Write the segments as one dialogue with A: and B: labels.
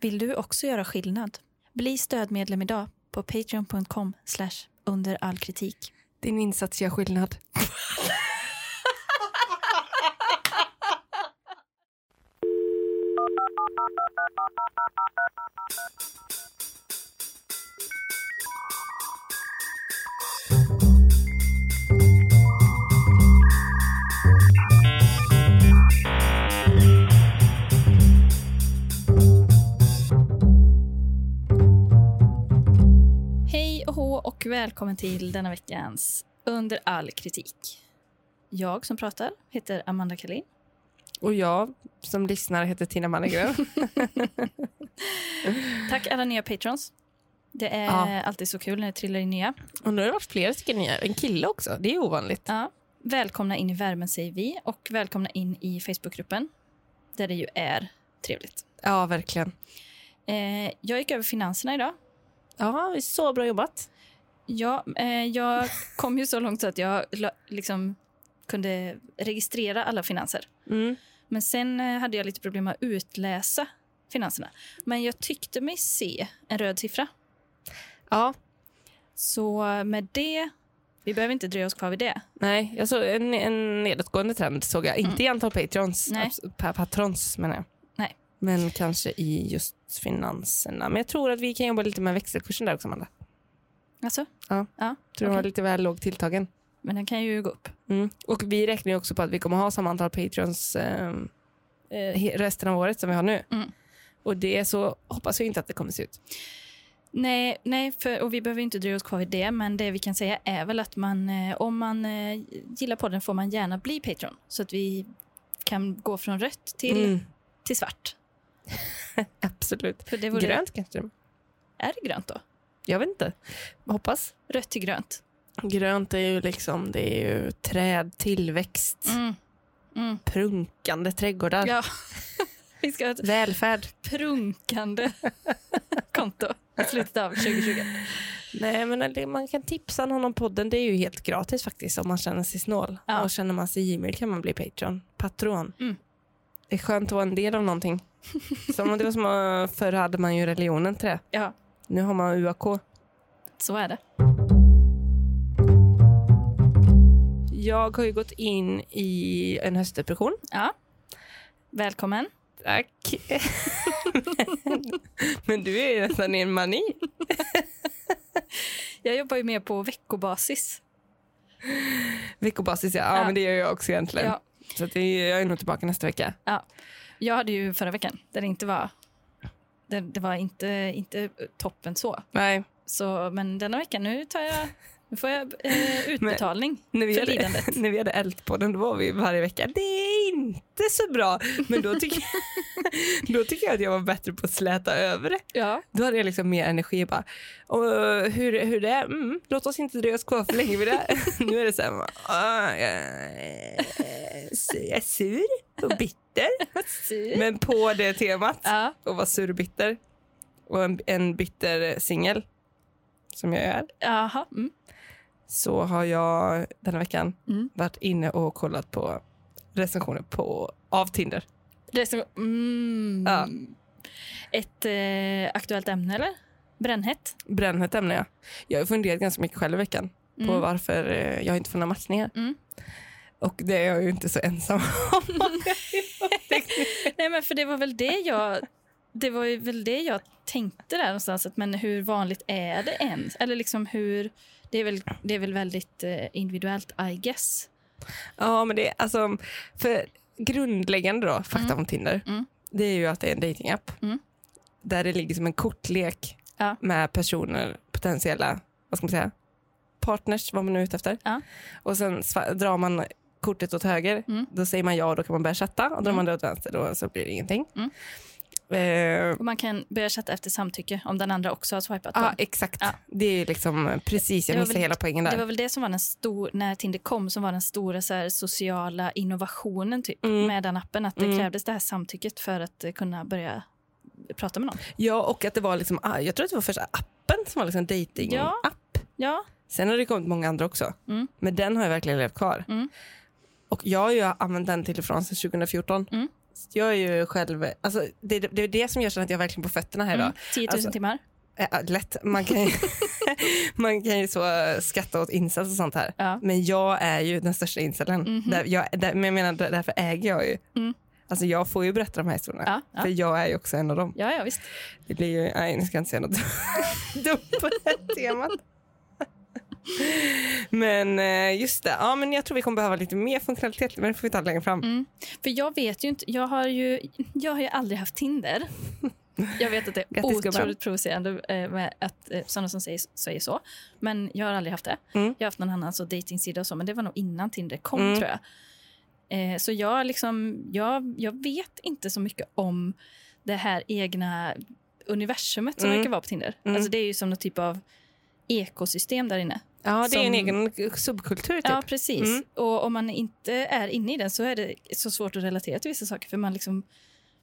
A: Vill du också göra skillnad? Bli stödmedlem idag på patreon.com under all kritik.
B: Din insats gör skillnad.
A: Hej och hå och välkommen till denna veckans Under all kritik. Jag som pratar heter Amanda Kalin.
B: Och jag som lyssnar heter Tina Mannegren.
A: Tack alla nya patrons. Det är
B: Ja.
A: alltid så kul när det trillar in nya.
B: Undrar har det varit fler stycken nya. En kille också. Det är ovanligt.
A: Ja. Välkomna in i värmen säger vi och välkomna in i Facebookgruppen där det ju är trevligt.
B: Ja, verkligen.
A: Eh, jag gick över finanserna idag.
B: Ja, det är så bra jobbat.
A: Ja, eh, jag kom ju så långt så att jag la- liksom kunde registrera alla finanser.
B: Mm.
A: Men sen eh, hade jag lite problem att utläsa finanserna. Men jag tyckte mig se en röd siffra.
B: Ja,
A: Så med det... Vi behöver inte dröja oss kvar vid det.
B: nej. Jag såg en, en nedåtgående trend såg jag. Inte i antal patrons.
A: Nej.
B: Abs- pa- patrons menar jag.
A: Nej.
B: Men kanske i just finanserna. Men jag tror att vi kan jobba lite med växelkursen där också, Amanda.
A: Alltså,
B: Tror
A: Okej.
B: den var lite väl låg tilltagen.
A: men den kan ju gå upp.
B: Mm. Och vi räknar ju också på att vi kommer ha samma antal patreons ehm, eh, he- resten av året som vi har nu.
A: Mm.
B: Och det är så hoppas jag inte att det kommer se ut.
A: Nej, nej för, och vi behöver inte dröja oss kvar vid det, men det vi kan säga är väl att man, eh, om man eh, gillar podden får man gärna bli Patreon så att vi kan gå från rött till,
B: Mm.
A: till svart.
B: Absolut.
A: För det vore,
B: Grönt kanske?
A: Är det grönt då?
B: Jag vet inte. Hoppas.
A: Rött till grönt.
B: Grönt är ju liksom, det är ju träd, tillväxt,
A: Mm. Mm.
B: prunkande trädgårdar,
A: Ja. vi ska ha ett
B: välfärd.
A: prunkande konto i slutet av 2020.
B: Nej, men det- man kan tipsa någon om podden. Det är ju helt gratis faktiskt om man känner sig snål.
A: Ja.
B: Och känner man sig givmild kan man bli Patreon. Patron.
A: Mm.
B: Det är skönt att vara en del av någonting. som om det var som eh, förr hade man ju religionen till det.
A: Ja,
B: Nu har man UAK.
A: så är det.
B: Jag har ju gått in i en höstdepression.
A: Ja. Välkommen.
B: Tack. men du är ju nästan i en mani.
A: Jag jobbar ju mer på veckobasis.
B: Veckobasis, ja. Ja,
A: Ja.
B: men det gör jag också egentligen.
A: Ja.
B: Så att det, jag är nog tillbaka nästa vecka.
A: Jag hade ju förra veckan där det inte var, där det var inte, inte toppen så.
B: Nej,
A: så. Men denna veckan nu tar jag, nu får jag eh, utbetalning
B: När vi,
A: för
B: hade,
A: lidandet.
B: när vi hade Eldpodden då var vi varje vecka, det är inte så bra. Men då tycker, då tycker jag att jag var bättre på att släta över det.
A: Ja.
B: Då hade jag liksom mer energi bara. Och hur, hur det är? Mm, låt oss inte dröja oss kvar för länge vid det. nu är det så här, bara, "Ah, jag är- jag är sur och bitter. Men på det temat,
A: Ja,
B: och vara sur och bitter. Och en, en bitter singel, som jag är
A: aha, mm.
B: så har jag den här veckan
A: Mm.
B: varit inne och kollat på recensioner på, av Tinder.
A: Det är som, mm,
B: Ja.
A: Ett eh, aktuellt ämne eller? Brännhett?
B: Brännhett ämne jag. Jag har funderat ganska mycket själv i veckan på
A: Mm.
B: varför eh, jag inte får några matchningar.
A: Mm.
B: Och det är jag ju inte så ensam om.
A: Nej, men för det var väl det jag... Det var ju väl det jag tänkte där någonstans. Att, men hur vanligt är det ens? Eller liksom hur... Det är väl, det är väl väldigt eh, individuellt, I guess.
B: ja, men det är alltså, för grundläggande då, fakta om Tinder,
A: Mm.
B: det är ju att det är en datingapp
A: Mm.
B: där det ligger som en kortlek
A: Ja.
B: med personer, potentiella, vad ska man säga, partners, vad man nu är ute efter.
A: Ja.
B: Och sen sva- drar man kortet åt höger,
A: Mm.
B: då säger man ja och då kan man börja chatta. Och drar
A: Mm.
B: man det åt vänster då så blir det ingenting.
A: Mm.
B: Eh,
A: Och man kan börja chatta efter samtycke om den andra också har swipat. på
B: ja,
A: en.
B: exakt.
A: Ja.
B: Det är ju liksom precis, jag
A: Det var
B: missade
A: väl-
B: hela poängen där.
A: Det var väl det som var den stor, när Tinder kom, som var den stora så här, sociala innovationen typ,
B: Mm.
A: med den appen. Att det
B: Mm.
A: krävdes det här samtycket för att eh, kunna börja prata med någon.
B: Ja, och att det var liksom, ah, jag tror att det var första appen som var liksom dating
A: Ja.
B: app
A: Ja,
B: Sen har det kommit många andra också.
A: Mm.
B: Men den har jag verkligen levt kvar.
A: Mm.
B: Och jag har ju använt den till och från sedan 2014.
A: Mm.
B: jag är ju själv, alltså, det, det är det som gör så att jag är verkligen på fötterna här idag.
A: Mm. 10 000
B: Alltså-
A: timmar.
B: Ja, lätt. Man kan, ju, man kan ju så eh, skratta åt incels och sånt här.
A: Ja.
B: Men jag är ju den största incelen.
A: Mhm.
B: Där, jag, där, men jag menar, där- därför äger jag ju.
A: Mm.
B: Alltså jag får ju berätta de här historierna.
A: Ja, ja.
B: För jag är ju också en av dem.
A: Ja, ja, visst.
B: Det blir ju, nej, nu ska jag inte säga något dumt på det här temat. Men eh, just det, ja, men jag tror vi kommer behöva lite mer funktionalitet, men det får vi ta längre fram.
A: Mm. För jag vet ju inte, jag har ju, jag har ju aldrig haft Tinder. Jag vet att det är
B: Grattis, gumman.
A: otroligt provocerande eh, med att eh, sådana som säger, säger så. Men jag har aldrig haft det.
B: Mm.
A: Jag har haft någon annan så dejtingsida och så, men det var nog innan Tinder kom
B: Mm.
A: tror jag. Eh, så jag, liksom, jag, jag vet inte så mycket om det här egna universumet som
B: Mm.
A: verkar vara på Tinder.
B: Mm.
A: Alltså det är ju som något typ av ekosystem där inne.
B: Ja, det är en
A: Som-
B: egen subkultur typ.
A: Ja, precis.
B: Mm.
A: Och om man inte är inne i den så är det så svårt att relatera till vissa saker för man liksom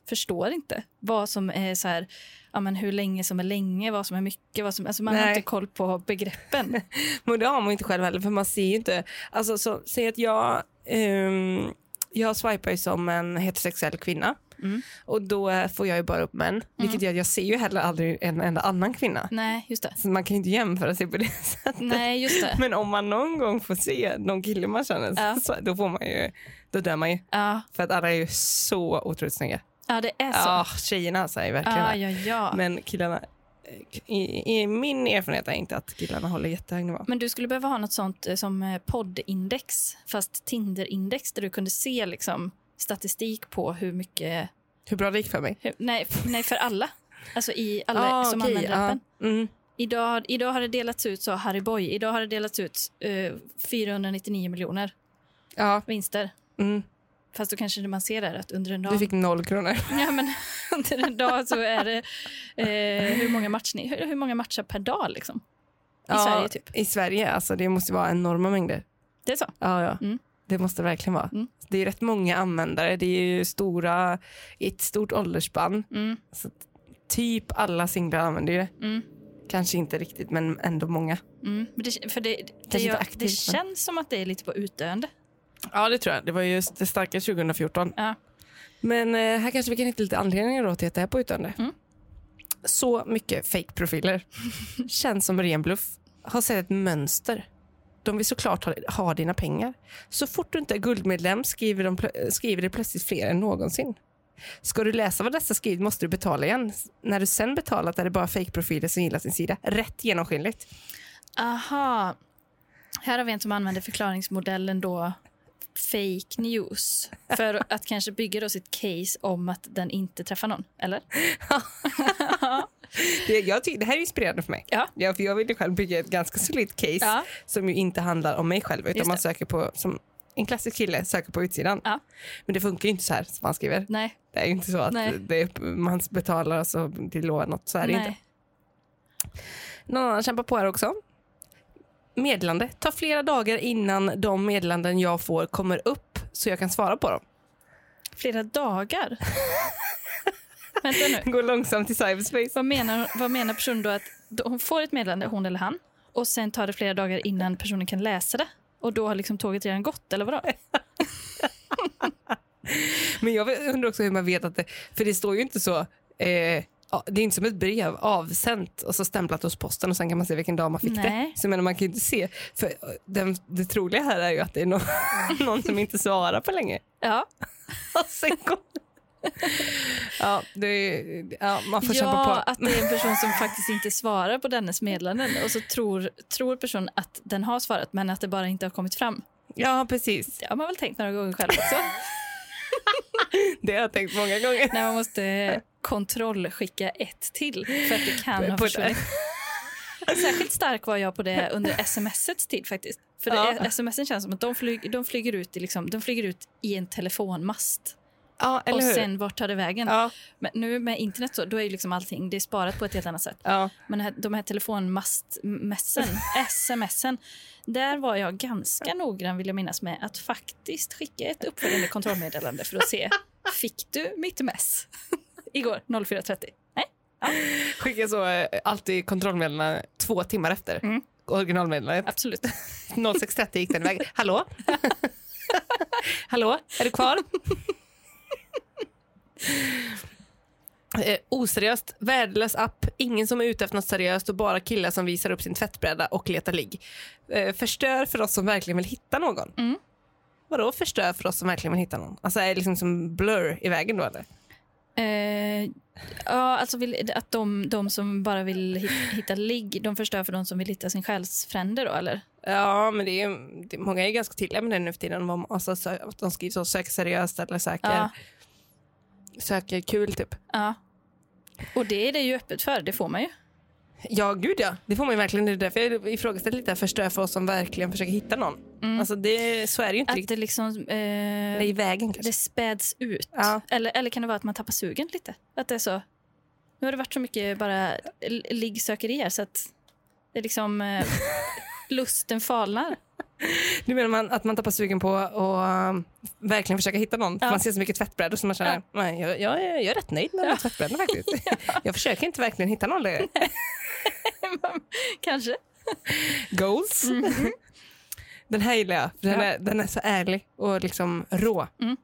A: förstår inte vad som är så här, ja, men hur länge som är länge, vad som är mycket, vad som, alltså man har
B: Nej.
A: inte koll på begreppen.
B: Men det har man ju inte själv heller för man ser ju inte. Alltså så, säg att jag, ehm, jag swipar ju som en heterosexuell kvinna.
A: Mm.
B: Och då eh, får jag ju bara upp män. Vilket gör att jag ser ju heller aldrig en enda annan kvinna.
A: Nej, just det.
B: Så man kan ju inte jämföra sig på det sättet.
A: Nej, just det.
B: Men om man någon gång får se någon kille man känner,
A: Ja.
B: så, då får man ju, då dör man ju.
A: Ja,
B: För att alla är ju så otroligt snygga.
A: ja det är så.
B: Ja, tjejerna alltså är verkligen
A: ja,
B: det.
A: ja, ja. Men,
B: Men killarna, eh, i, i min erfarenhet är inte att killarna håller jättehög nivå.
A: du skulle behöva ha något sånt eh, som eh, poddindex, fast Tinderindex där du kunde se liksom, statistik på hur mycket...
B: Hur bra det gick för mig.
A: Hur, nej, f- nej, för alla. Alltså i alla
B: Ah,
A: som
B: okej,
A: använder
B: ja.
A: appen.
B: Mm.
A: Idag, idag har det delats ut, sa Harry Boy, idag har det delats ut eh, 499 miljoner
B: Ja,
A: vinster.
B: mm.
A: Fast då kanske man ser där att under en dag,
B: Du fick noll kronor.
A: ja, men, under en dag så är det eh, hur, många match ni, hur, hur många matcher per dag liksom? I Sverige typ.
B: I Sverige, alltså det måste vara enorma mängder.
A: Det är så?
B: Ja, ja.
A: Mm.
B: Det måste det verkligen vara.
A: Mm.
B: Det är rätt många användare. Det är ju stora, i ett stort åldersspann.
A: Mm,
B: Så att typ alla singlar använder ju det.
A: mm,
B: Kanske inte riktigt, men ändå många.
A: mm. Men det, för det, det,
B: inte
A: gör-
B: aktivt,
A: det
B: men-
A: känns som att det är lite på utdöende.
B: Ja, det tror jag. Det var ju det starka 2014.
A: Ja.
B: Men eh, här kanske vi kan hitta lite anledningar då till att det är på utdöende.
A: Mm.
B: Så mycket fake-profiler. Känns som ren bluff. Har sett ett mönster. De vill såklart ha, ha dina pengar. Så fort du inte är guldmedlem skriver de, plö- skriver det plötsligt fler än någonsin. Ska du läsa vad dessa skrivit måste du betala igen. När du sen betalat är det bara fake-profiler som gillar sin sida. Rätt genomskinligt.
A: Aha. Här har vi en som använder förklaringsmodellen då fake news för att kanske bygga då sitt case om att den inte träffar någon, eller?
B: Det, jag tycker, det här är inspirerande för mig.
A: Ja.
B: Ja, för jag ville själv bygga ett ganska solidt case
A: Ja.
B: som ju inte handlar om mig själv utan
A: Just
B: man
A: det.
B: söker på, som en klassisk kille söker på utsidan.
A: Ja.
B: Men det funkar ju inte så här som man skriver.
A: Nej.
B: Det är ju inte så att
A: Nej.
B: det är, man betalar och så till lån något. Så är det ju inte.
A: Nej.
B: Någon annan kämpar på här också. Meddelande. Ta flera dagar innan de meddelanden jag får kommer upp så jag kan svara på dem.
A: Flera dagar? Vänta nu.
B: Gå långsamt i cyberspace.
A: Vad menar, vad menar personen då att då hon får ett meddelande, hon eller han, och sen tar det flera dagar innan personen kan läsa det? Och då har liksom tåget redan gått, eller vadå?
B: Men jag undrar också hur man vet att det, för det står ju inte så, eh, ja, det är inte som ett brev avsänt och så stämplat hos posten och sen kan man se vilken dag man fick
A: Nej.
B: det. Så jag menar, man kan ju inte se, för eh, den, det troliga här är ju att det är någon, någon som inte svarar på länge.
A: Ja.
B: Och sen kom, ja, det, är- ja, man får kämpa
A: Ja, alltså-
B: på.
A: att det är en person som faktiskt inte svarar på dennes meddelanden och så tror, tror personen att den har svarat men att det bara inte har kommit fram.
B: Ja, precis.
A: Det har man väl tänkt några gånger själv också.
B: Det har jag tänkt många gånger.
A: När man måste kontrollskicka ett till för att det kan ha
B: På-
A: försvunnit. Särskilt stark var jag på det under sms-ets tid faktiskt. För det,
B: Ja.
A: sms'en känns som att de, flyg, de, flyger ut i liksom, de flyger ut i en telefonmast.
B: Ja, eller
A: och
B: hur?
A: sen vart tar det vägen?
B: ja,
A: Men nu med internet så, då är ju liksom allting, det är sparat på ett helt annat sätt.
B: ja.
A: Men det här, de här telefonmastmässen, smsen, där var jag ganska noggrann vill jag minnas med att faktiskt skicka ett uppföljande kontrollmeddelande för att se, fick du mitt mess igår 04.30? Nej,
B: Skicka så eh, alltid kontrollmeddelandena två timmar efter.
A: Mm.
B: Originalmeddelandet.
A: absolut.
B: 06.30 gick den iväg. Hallå? Hallå, är du kvar? Eh, oseriöst, värdelös app, ingen som är ute efter något seriöst och bara killar som visar upp sin tvättbräda och letar ligg. Eh, förstör för oss som verkligen vill hitta någon.
A: Mm.
B: Vadå förstör för oss som verkligen vill hitta någon? Alltså är det liksom som blur i vägen då eller?
A: Eh, ja, alltså vill, att de, de som bara vill hitta, hitta ligg, de förstör för de som vill hitta sin själsfrände då, eller?
B: Ja, men det är, det, många är ju ganska tydliga med det nu för tiden. Vad- Alltså, sö- att de skriver så, sök seriöst eller söker,
A: Ja.
B: söker kul typ.
A: ja. Och det är det ju öppet för, det får man ju.
B: Ja, gud ja. Det får man ju verkligen. Det är därför jag ifrågasätter lite här, förstör för oss som verkligen försöker hitta någon.
A: Mm.
B: Alltså det, så är det ju inte
A: Att
B: riktigt.
A: det liksom...
B: Det
A: Eh,
B: är i vägen kanske.
A: det späds ut.
B: Ja.
A: Eller, eller kan det vara att man tappar sugen lite? Att det är så. Nu har det varit så mycket bara l- liggsökerier så att det är liksom eh, lusten falnar.
B: Nu menar man att man tappar sugen på att um, verkligen försöka hitta någon. För
A: Ja.
B: Man ser så mycket tvättbrädor som man känner,
A: Ja.
B: nej, jag, jag, är- jag är rätt nöjd med de här tvättbrädorna faktiskt. Jag försöker inte verkligen hitta någon längre.
A: Kanske.
B: Goals. Den här gillar jag, för den,
A: Mm. Ja.
B: är, den är så ärlig och liksom rå.
A: Mm.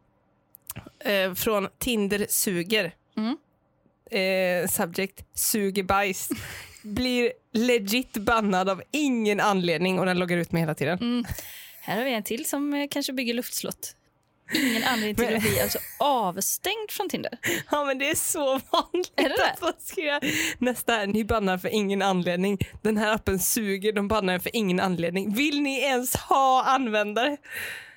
B: Eh, från Tinder suger.
A: Mm.
B: Eh, subject suger bajs. Blir legit bannad av ingen anledning och den loggar ut mig hela tiden.
A: Mm. Här har vi en till som eh, kanske bygger luftslott. Ingen anledning till att bli alltså avstängd från Tinder.
B: Ja men det är så vanligt
A: Är det det?
B: att man skriver nästa här, ni bannar för ingen anledning. Den här appen suger, de bannar er för ingen anledning. Vill ni ens ha användare?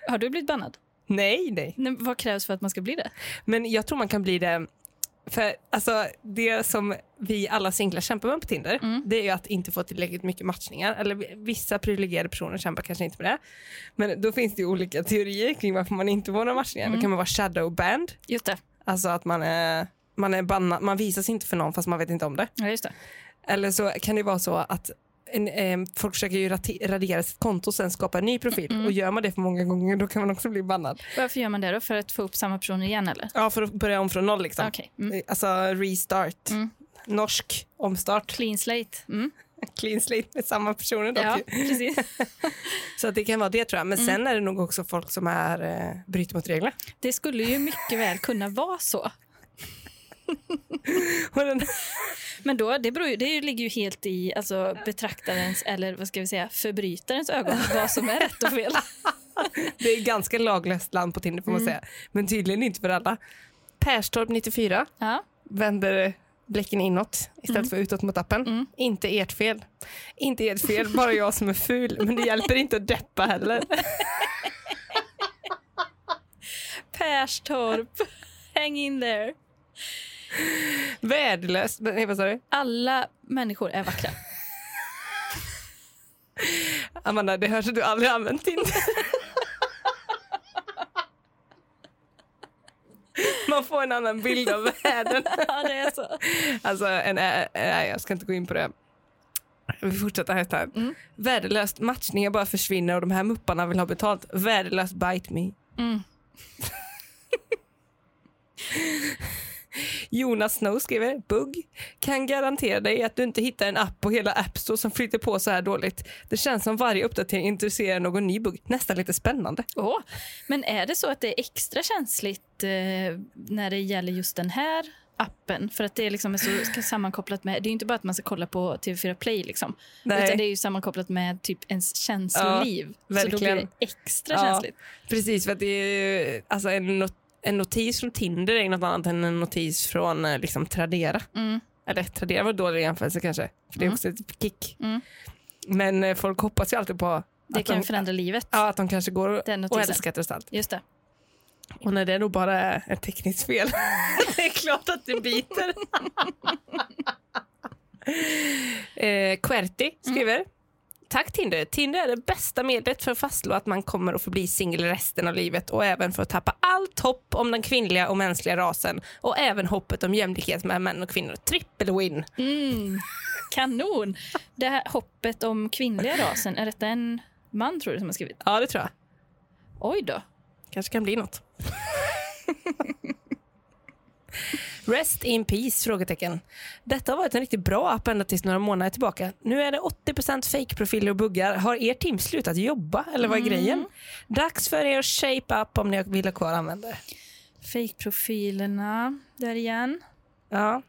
A: Har du blivit bannad?
B: Nej, nej.
A: Nej, Vad krävs för att man ska bli det?
B: Men jag tror man kan bli det. För alltså, det som vi alla singlar kämpar med på Tinder det är ju att inte få tillräckligt mycket matchningar. Eller vi- vissa privilegierade personer kämpar kanske inte med det. Men då finns det ju olika teorier kring varför man inte får några matchningar. Då kan man vara shadowbanned,
A: Just det.
B: alltså att man är, man är bannad, man visas inte för någon fast man vet inte om det.
A: Ja, just det.
B: Eller så kan det vara så att en, em, folk försöker ju rati- radera sitt konto och sen skapa en ny profil. Och gör man det för många gånger då kan man också bli bannad.
A: Varför gör man det då? För att få upp samma person igen eller?
B: Ja, för att börja om från noll liksom.
A: Okej. Mm.
B: Alltså restart. Norsk omstart.
A: Clean slate. Mm.
B: Clean slate med samma personer dock.
A: Ja, Mm.
B: ju.
A: precis.
B: Så att det kan vara det tror jag. Men sen är det nog också folk som är, eh, bryter mot reglerna.
A: Det skulle ju mycket väl kunna vara så.
B: Och den,
A: Men då, det, beror ju, det ligger ju helt i alltså, betraktarens, eller vad ska vi säga, förbrytarens ögon, vad som är rätt och fel.
B: det är ganska laglöst land på Tinder
A: Mm.
B: får man säga. Men tydligen inte för alla. Perstorp 94
A: Ja.
B: vänder blicken inåt istället
A: Mm.
B: för utåt mot appen. Inte ert fel. Inte ert fel, bara jag som är ful. Men det hjälper inte att deppa heller.
A: Perstorp, hang in there.
B: Värdelöst. Men, nej, vad sa du?
A: Alla människor är vackra.
B: Amanda, det hörs att du aldrig har använt Tinder. Man får en annan bild av världen.
A: Ja, det är så.
B: Alltså, en, ä- nej, jag ska inte gå in på det. Vi fortsätter här. här.
A: Mm.
B: Värdelöst matchningar bara försvinner och de här mupparna vill ha betalt. Värdelöst bite me.
A: Mm.
B: Jonas Snow skriver, bugg. Kan garantera dig att du inte hittar en app på hela App Store som flyter på så här dåligt. Det känns som varje uppdatering introducerar någon ny bugg. Nästan lite spännande.
A: Åh. Men är det så att det är extra känsligt eh, när det gäller just den här appen? För att det är liksom är så ska sammankopplat med... Det är ju inte bara att man ska kolla på TV4 Play. Liksom,
B: Nej.
A: utan det är ju sammankopplat med typ ens känsloliv. så då blir
B: verkligen.
A: det extra
B: Ja.
A: känsligt.
B: Precis, för att det är ju, alltså en, not- en notis från Tinder är något annat än en notis från eh, liksom, Tradera.
A: Mm.
B: Eller Tradera var en dålig jämförelse kanske, för det är också ett kick.
A: Mm.
B: Men eh, folk hoppas ju alltid på
A: Det
B: att,
A: kan
B: de,
A: förändra livet.
B: ja, att de kanske går och,
A: Den
B: och
A: notisen.
B: älskar det allt.
A: Just det.
B: Och när det nog bara är ett tekniskt fel, det är klart att det biter. eh, Querty skriver. Tack Tinder. Tinder är det bästa medlet för att fastslå att man kommer att förbli singel resten av livet och även för att tappa allt hopp om den kvinnliga och mänskliga rasen och även hoppet om jämlikhet mellan män och kvinnor. Triple win.
A: Mm. Kanon! Det här hoppet om kvinnliga rasen, är detta en man tror du som har skrivit?
B: Ja, det tror jag.
A: Oj då.
B: Kanske kan bli något. Rest in peace? frågetecken. Detta har varit en riktigt bra app ända tills några månader tillbaka. Nu är det 80 fake-profiler och buggar. Har er team Mm. slutat jobba eller vad är grejen? Dags för er att shape up om ni vill ha kvar användare.
A: Fake-profilerna där igen.
B: Ja.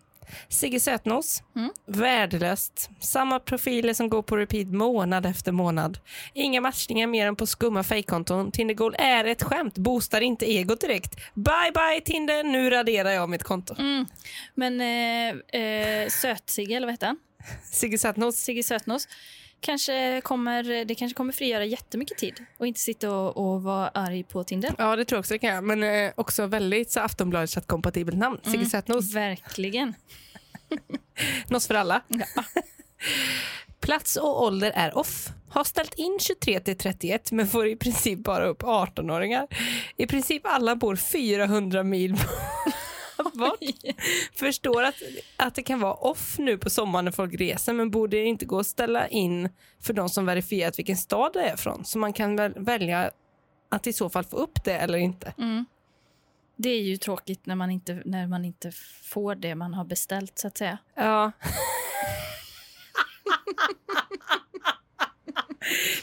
B: Sigge Sötnos.
A: Mm.
B: Värdelöst. Samma profiler som går på repeat månad efter månad. Inga matchningar mer än på skumma fejkkonton. Tinder Gold är ett skämt. Boostar inte egot direkt. Bye bye Tinder, nu raderar jag mitt konto.
A: Mm. Men eh, eh, Söt-Sigge, eller vad heter han?
B: Sigge Sötnos.
A: Sigge Sötnos. Kanske kommer, det kanske kommer frigöra jättemycket tid och inte sitta och, och vara arg på Tinder.
B: Ja, det tror jag också det kan jag. Men eh, också väldigt så Aftonbladet att kompatibelt namn. Sigge Sötnos.
A: Verkligen.
B: Något för alla. Plats och ålder är off. Har ställt in 23 till 31 men får i princip bara upp 18-åringar. I princip alla bor 400 mil bort. Förstår att, att det kan vara off nu på sommaren när folk reser men borde det inte gå att ställa in för de som verifierat vilken stad det är från? Så man kan väl välja att i så fall få upp det eller inte.
A: Mm. Det är ju tråkigt när man, inte, när man inte får det man har beställt, så att säga.
B: Ja.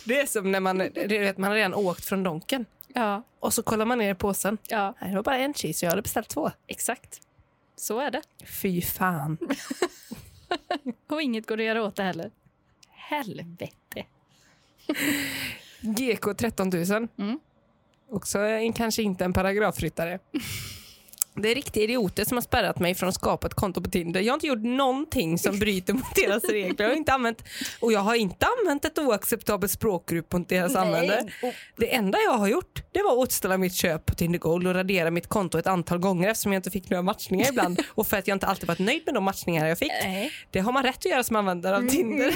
B: Det är som när man, du vet, man har redan åkt från Donken
A: Ja,
B: och så kollar man ner i påsen.
A: ja
B: Nej, det var bara en cheese, jag hade beställt två.
A: exakt. Så är det.
B: Fy fan.
A: Och inget går att göra åt det heller. Helvete.
B: GK 13 000.
A: Mm.
B: Också en, kanske inte en paragrafryttare. Det är riktiga idioter som har spärrat mig från att skapa ett konto på Tinder. Jag har inte gjort någonting som bryter mot deras regler. Jag har inte använt, och jag har inte använt ett oacceptabelt språkgrupp mot deras
A: Nej.
B: användare. Det enda jag har gjort det var att återställa mitt köp på Tinder Gold och radera mitt konto ett antal gånger eftersom jag inte fick några matchningar ibland och för att jag inte alltid varit nöjd med de matchningar jag fick.
A: Nej.
B: Det har man rätt att göra som användare av Tinder.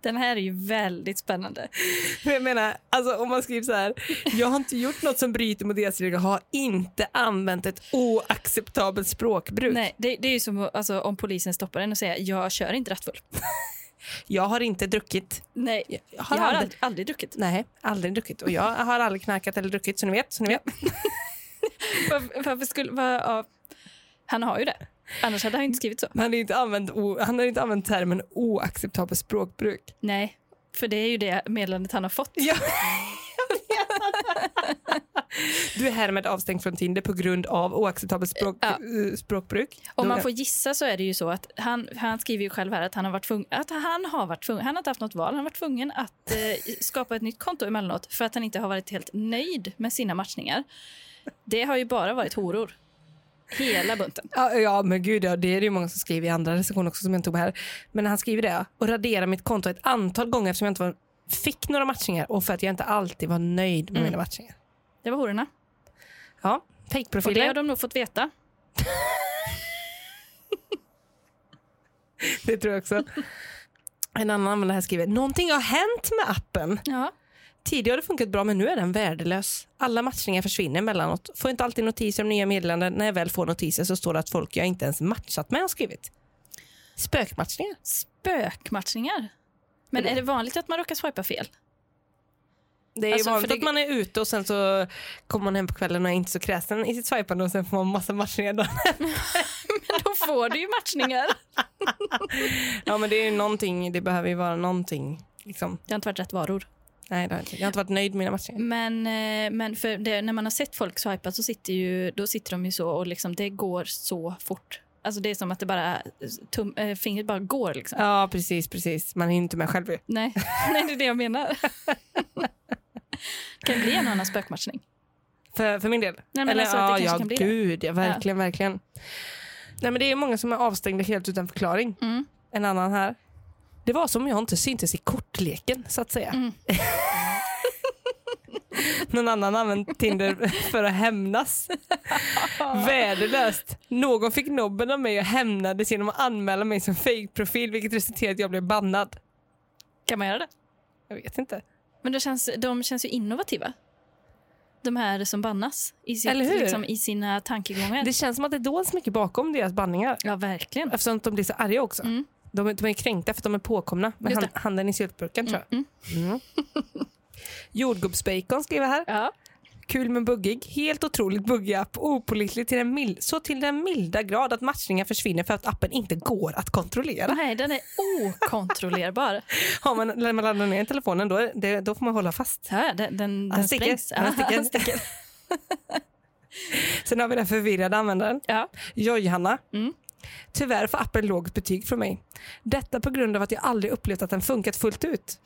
A: Den här är ju väldigt spännande.
B: Men Jag menar, alltså om man skriver så här, jag har inte gjort något som bryter mot deras regler, har inte använt ett oacceptabelt språkbruk.
A: Nej, det, det är ju som alltså, om polisen stoppar en och säger jag kör inte rattfull.
B: Jag har inte druckit.
A: Nej, jag
B: Jag
A: har aldrig, aldrig druckit.
B: Nej, aldrig druckit. Och jag har aldrig knarkat eller druckit, så ni vet. Så ni vet.
A: Varför, varför skulle... Var, ja. Han har ju det. Annars hade han ju inte skrivit så.
B: Men Han, har ju inte använt o, han har ju inte använt termen oacceptabelt språkbruk.
A: Nej, för det är ju det meddelandet han har fått.
B: Ja. Du är härmed avstängd från Tinder på grund av oacceptabelt språk,
A: Ja.
B: eh, språkbruk.
A: Om
B: Då-
A: man får gissa så är det ju så att han, han skriver ju själv här att han har varit tvungen, att han har varit tvungen, han har inte haft något val, han har varit tvungen att eh, skapa ett nytt konto emellanåt för att han inte har varit helt nöjd med sina matchningar. Det har ju bara varit horor. Hela bunten.
B: Ja, ja men gud, ja, det är det ju många som skriver i andra recensioner också som jag inte tog med här. Men han skriver det och radera mitt konto ett antal gånger eftersom jag inte var, fick några matchningar och för att jag inte alltid var nöjd med
A: Mm.
B: mina matchningar.
A: Det var hororna.
B: Ja,
A: Och det
B: fejkprofiler.
A: har de nog fått veta.
B: det tror jag också. En annan användare här skriver, någonting har hänt med appen.
A: Ja.
B: Tidigare har det funkat bra men nu är den värdelös. Alla matchningar försvinner emellanåt. Får inte alltid notiser om nya meddelanden. När jag väl får notiser så står det att folk jag inte ens matchat med har skrivit. Spökmatchningar.
A: Spökmatchningar. Men är det vanligt att man råkar swipa fel?
B: Det är ju
A: Alltså, för
B: vanligt
A: det-
B: att man är ute och sen så kommer man hem på kvällen och är inte så kräsen i sitt swipande och sen får man massa matchningar. dagen efter.
A: Men då får du ju matchningar.
B: ja men det är ju någonting, det behöver ju vara någonting. Liksom.
A: Det har inte varit rätt varor.
B: Nej, det har jag, inte. jag har inte varit nöjd med mina matchningar.
A: Men, eh, men för det, när man har sett folk swipa så sitter, ju, då sitter de ju så och liksom, det går så fort. Alltså det är som att det bara, tum, eh, fingret bara går. Liksom.
B: Ja precis, precis. Man är ju inte med själv ju.
A: Nej. Nej, det är det jag menar. det kan bli en annan spökmatchning.
B: För, för min del.
A: men alltså att det kanske
B: ja, ja
A: kan bli det.
B: gud, ja, verkligen, verkligen. Nej men det är många som är avstängda helt utan förklaring.
A: Mm.
B: En annan här. Det var som om jag inte syntes i kortleken så att säga.
A: Mm.
B: Någon annan använt Tinder för att hämnas. Värdelöst. Någon fick nobben av mig och hämnades genom att anmäla mig som fake-profil vilket resulterade i att jag blev bannad.
A: Kan man göra det?
B: Jag vet inte.
A: Men det känns, de känns ju innovativa. De här som bannas i, sitt,
B: Eller hur?
A: liksom, i sina tankegångar.
B: Det känns som att det dåls mycket bakom deras banningar.
A: Ja, verkligen.
B: Eftersom de blir så arga också.
A: Mm.
B: De, är- de är kränkta för att de är påkomna med
A: Just
B: hand, handen i syltburken tror jag. Mm. Jordgubbsbacon skriver här.
A: Ja.
B: Kul men buggig. Helt otroligt buggig app. Opålitlig till den mil- så till den milda grad att matchningar försvinner för att appen inte går att kontrollera.
A: Nej, den är okontrollerbar.
B: Har man, när man laddar ner telefonen då, är det, då får man hålla fast.
A: Så här, den den,
B: Han
A: den
B: sticker.
A: sprängs.
B: Han
A: Ja,
B: sticker. Sen har vi den förvirrade användaren.
A: Ja.
B: Joj-Hanna.
A: Mm.
B: Tyvärr får appen lågt betyg från mig. Detta på grund av att jag aldrig upplevt att den funkat fullt ut.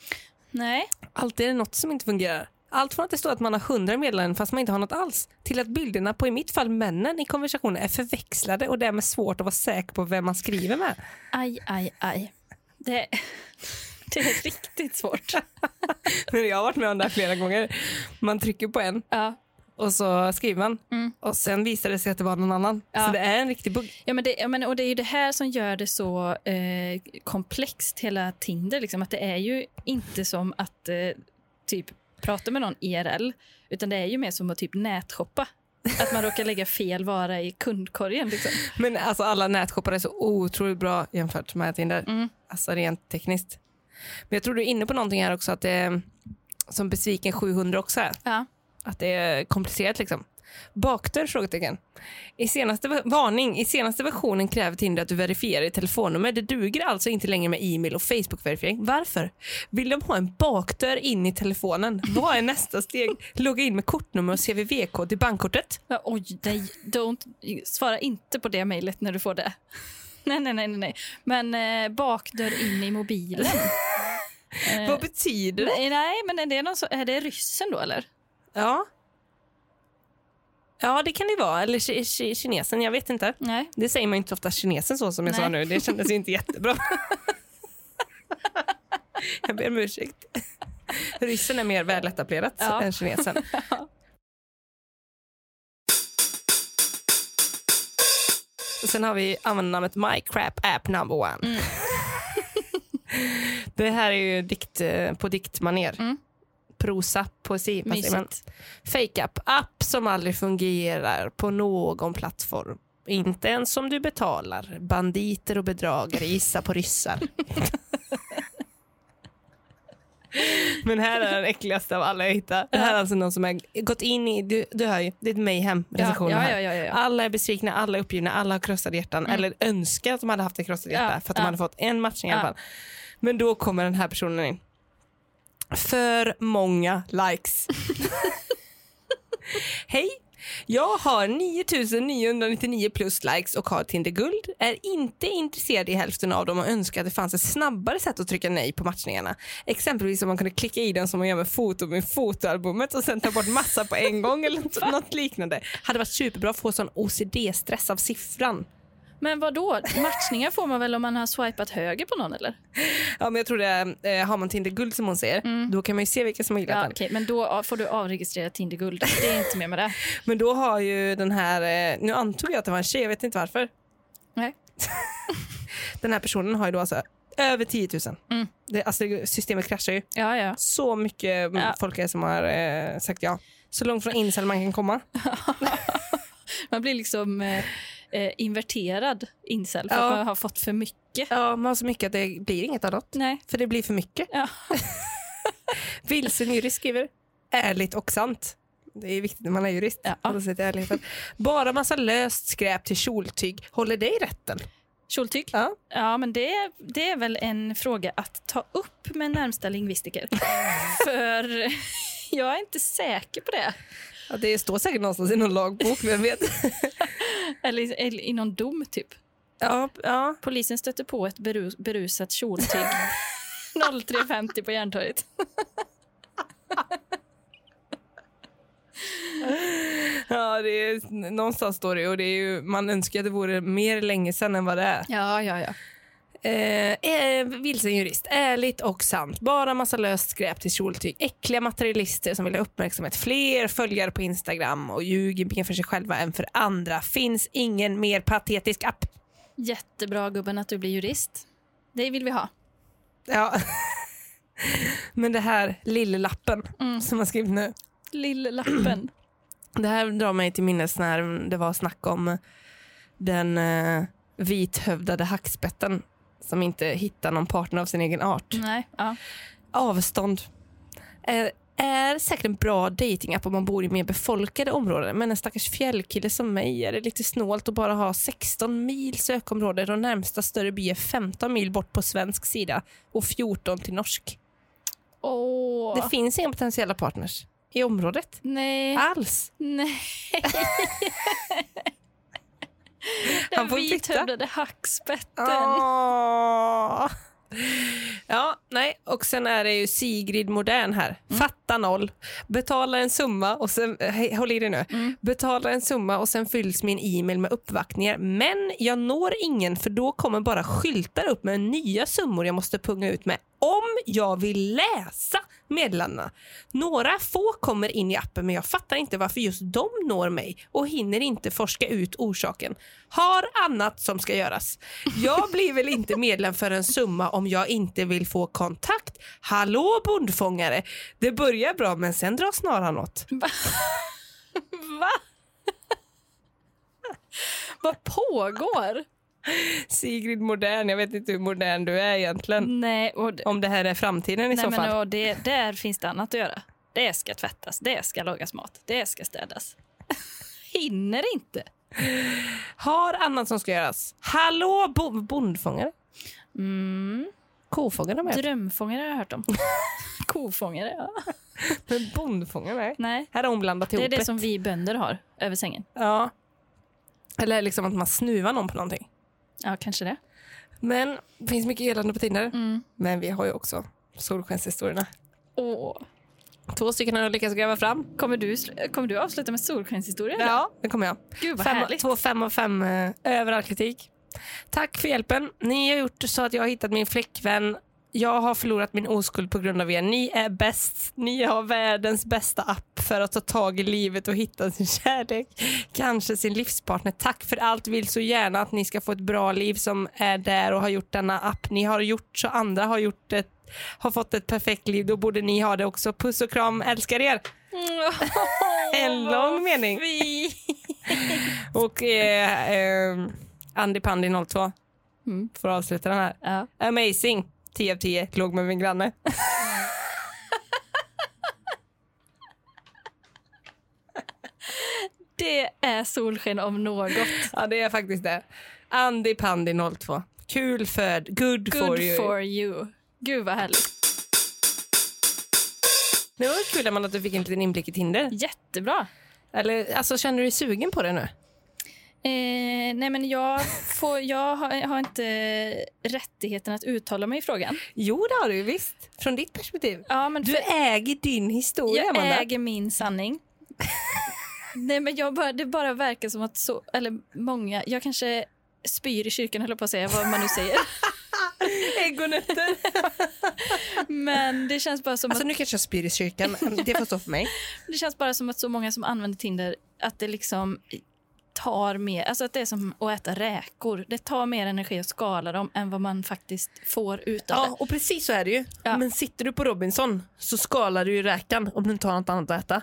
A: Nej.
B: Alltid är det något som inte fungerar. Allt från att det står att man har 100 meddelanden fast man inte har något alls, till att bilderna på i mitt fall männen i konversationen är förväxlade och därmed svårt att vara säker på vem man skriver med.
A: Aj, aj, aj. Det, det är riktigt svårt.
B: Men jag har varit med om det här flera gånger. Man trycker på en
A: Ja.
B: och så skriver man
A: Mm.
B: och sen visar det sig att det var någon annan.
A: Ja.
B: Så det är en riktig bugg.
A: Ja, men det, ja, men, och det är ju det här som gör det så eh, komplext, hela Tinder. Liksom, att det är ju inte som att eh, typ prata med någon IRL, utan det är ju mer som att typ nätshoppa. Att man råkar lägga fel vara i kundkorgen. Liksom.
B: Men alltså alla nätshoppar är så otroligt bra jämfört med Tinder.
A: Mm.
B: Alltså rent tekniskt. Men jag tror du är inne på någonting här också att det är, som besviken 700 också är.
A: Ja.
B: Att det är komplicerat liksom. Bakdörr? Frågetecken. I senaste, ver- varning! I senaste versionen kräver Tinder att du verifierar ditt telefonnummer. Det duger alltså inte längre med e-mail och Facebook-verifiering. Varför? Vill de ha en bakdörr in i telefonen? Vad är nästa steg? Logga in med kortnummer och CVV-kod till bankkortet?
A: Ja, Oj, nej, don't, svara inte på det mejlet när du får det. Nej, nej, nej. nej, nej. Men eh, bakdörr in i mobilen. Eh,
B: Vad betyder det?
A: nej, nej, men är det, någon så, är det ryssen då, eller?
B: Ja. Ja, det kan det vara. Eller ki- ki- kinesen, jag vet inte.
A: Nej.
B: Det säger man ju inte så ofta kinesen så som jag sa
A: Nej.
B: nu. Det kändes ju inte jättebra. jag ber om ursäkt. Ryssen är mer väletablerat
A: Ja.
B: än kinesen. Och Sen har vi användarnamnet My Crap App Number One.
A: Mm.
B: det här är ju dikt, eh, på diktmaner.
A: Mm.
B: Prosa, poesi. vad säger man?
A: Mysigt.
B: Fake-app, app som aldrig fungerar på någon plattform. Inte ens som du betalar. Banditer och bedragare, gissa på ryssar. Men här är den äckligaste av alla jag hittar. Det här är alltså någon som har gått in i, du, du hör ju, det är ett
A: Ja,
B: mayhem-recension
A: ja,
B: här.
A: ja, ja, Mm. ja.
B: Alla är besvikna, alla är uppgivna, alla har krossade hjärtan. Eller önskar att de hade haft ett krossat hjärta
A: Ja,
B: för att de
A: ja.
B: hade fått en matchning i alla
A: Ja.
B: fall. Men då kommer den här personen in. För många likes. Hej! Jag har 9999 plus likes och har Tinder Guld. Är inte intresserad i hälften av dem och önskar att det fanns ett snabbare sätt att trycka nej på matchningarna. Exempelvis om man kunde klicka i den som man gör med foto med fotoalbumet och sen ta bort massa på en gång eller något- något liknande. Hade varit superbra att få sån OCD-stress av siffran.
A: Men vad då? Matchningar får man väl om man har swipat höger på någon eller?
B: Ja, men jag tror det, är, eh, har man Tinder Guld som hon säger, då kan man ju se vilka som har gillat
A: Ja,
B: den.
A: okej, men då får du avregistrera Tinder Guld. Det är inte mer med det.
B: Men då har ju den här, eh, nu antog jag att det var en tjej, jag vet inte varför.
A: Nej.
B: Den här personen har ju då alltså över 10 000.
A: Mm.
B: Det, alltså, systemet kraschar ju.
A: Ja, ja.
B: Så mycket mm,
A: Ja.
B: folk är som har eh, sagt ja. Så långt från incel man kan komma.
A: Man blir liksom eh, eh, inverterad incel för
B: Ja.
A: att man har fått för mycket.
B: Ja, man har så mycket att det blir inget av något.
A: Nej.
B: För det blir för mycket.
A: Ja.
B: Vilsen jurist skriver ärligt och sant. Det är viktigt när man är jurist.
A: Ja.
B: Hålla sig till ärligheten. Bara massa löst skräp till kjoltyg. Håller det i rätten?
A: Kjoltyg? Ja.
B: Ja.
A: men det, det är väl en fråga att ta upp med närmsta lingvistiker. för jag är inte säker på det.
B: Ja, det står säkert någonstans i någon lagbok, vem vet?
A: Eller, i- eller i någon dom, typ.
B: ja, ja.
A: Polisen stötte på ett berus, berusat kjoltyg 03.50 på Järntorget.
B: ja det är, någonstans står det och det är ju, man önskar att det vore mer länge sedan än vad det är.
A: Ja, ja, ja.
B: Eh, eh, vilsen jurist, ärligt och sant. Bara massa löst skräp till kjoltyg. Äckliga materialister som vill ha uppmärksamhet. Fler följare på Instagram och ljuger mer för sig själva än för andra. Finns ingen mer patetisk app.
A: Jättebra gubben att du blir jurist. Det vill vi ha.
B: Ja. Men det här lillelappen
A: Mm.
B: som har skrivit nu.
A: Lill-lappen.
B: Det här drar mig till minnes när det var snack om den eh, vithövdade hackspetten som inte hittar någon partner av sin egen art.
A: Nej, ja.
B: Avstånd. Eh, är säkert en bra datingapp om man bor i mer befolkade områden men en stackars fjällkille som mig är det lite snålt att bara ha 16 mil sökområde och närmsta större by är 15 mil bort på svensk sida och 14 till norsk.
A: Åh.
B: Det finns inga potentiella partners. i området.
A: Nej.
B: Alls.
A: Nej.
B: Han
A: Den
B: får titta.
A: vithövdade hackspetten.
B: Åh. Ja, nej. Och sen är det ju Sigrid Modern här. Fatta noll. Betala en summa och sen... Hej, håll i dig nu. Betala en summa och sen fylls min e-mail med uppvaktningar. Men jag når ingen för då kommer bara skyltar upp med nya summor jag måste punga ut med om jag vill läsa meddelandena. Några få kommer in i appen men jag fattar inte varför just de når mig och hinner inte forska ut orsaken. Har annat som ska göras. Jag blir väl inte medlem för en summa om jag inte vill få kontakt. Hallå bondfångare! Det börjar bra men sen drar snaran åt.
A: Va? Vad pågår?
B: Sigrid Modern, jag vet inte hur modern du är egentligen.
A: Nej, och d-
B: Om det här är framtiden i
A: nej
B: så fall.
A: men och det, där finns det annat att göra. Det ska tvättas, det ska lagas mat, det ska städas. Hinner inte.
B: Har annat som ska göras. Hallå bo- bondfångare?
A: Mm.
B: Kofångare med.
A: Drömfångare har jag hört om. Kofångare, ja.
B: Men bondfångare? Nej.
A: Nej,
B: Här har hon blandat ihop
A: det är det som vi bönder har över sängen.
B: Ja. Eller liksom att man snuvar någon på någonting.
A: Ja, kanske det.
B: Men det finns mycket elände på Tinder.
A: Mm.
B: Men vi har ju också solskenshistorierna.
A: Åh.
B: Två stycken har jag lyckats gräva fram.
A: Kommer du, sl- kommer du avsluta med solskenshistorien?
B: Ja, det kommer jag.
A: Gud vad
B: Fem,
A: härligt.
B: två fem av fem eh, överallt kritik. Tack för hjälpen. Ni har gjort så att jag har hittat min flickvän. Jag har förlorat min oskuld på grund av er. Ni är bäst. Ni har världens bästa app för att ta tag i livet och hitta sin kärlek. Kanske sin livspartner. Tack för allt. Vill så gärna att ni ska få ett bra liv som är där och har gjort denna app. Ni har gjort så andra har gjort ett har fått ett perfekt liv, då borde ni ha det också. Puss och kram, älskar er!
A: Mm,
B: En lång mening. Och eh, eh, Andy Pandy 02
A: Mm.
B: får avsluta den här.
A: Ja.
B: Amazing! 10 av 10, låg med min granne.
A: Det är solsken om något.
B: Ja, det är faktiskt det. Andy Pandy 02. Kul för... Good,
A: Good
B: for you.
A: for you. Gud vad härligt.
B: Det var kul Emma, att du fick en liten inblick i Tinder.
A: Jättebra.
B: Eller, alltså, känner du dig sugen på det nu?
A: Eh, nej men jag, får, jag har, har inte rättigheten att uttala mig i frågan.
B: Jo, det har du visst. Från ditt perspektiv.
A: Ja, men
B: Du
A: för-
B: äger din historia,
A: jag
B: Amanda.
A: äger min sanning. nej men jag bara, det bara verkar som att så, eller många, jag kanske spyr i kyrkan höll jag på att säga vad man nu säger.
B: Ägg och nötter.
A: Men det känns bara som att
B: Alltså, nu kanske jag spyr i kyrkan. Det får stå för mig.
A: Det känns bara som att så många som använder Tinder, att det liksom tar mer, alltså att det är som att äta räkor. Det tar mer energi att skala dem än vad man faktiskt får ut av
B: Ja, och precis så är det ju.
A: Ja.
B: Men sitter du på Robinson så skalar du ju räkan om du inte har något annat att äta.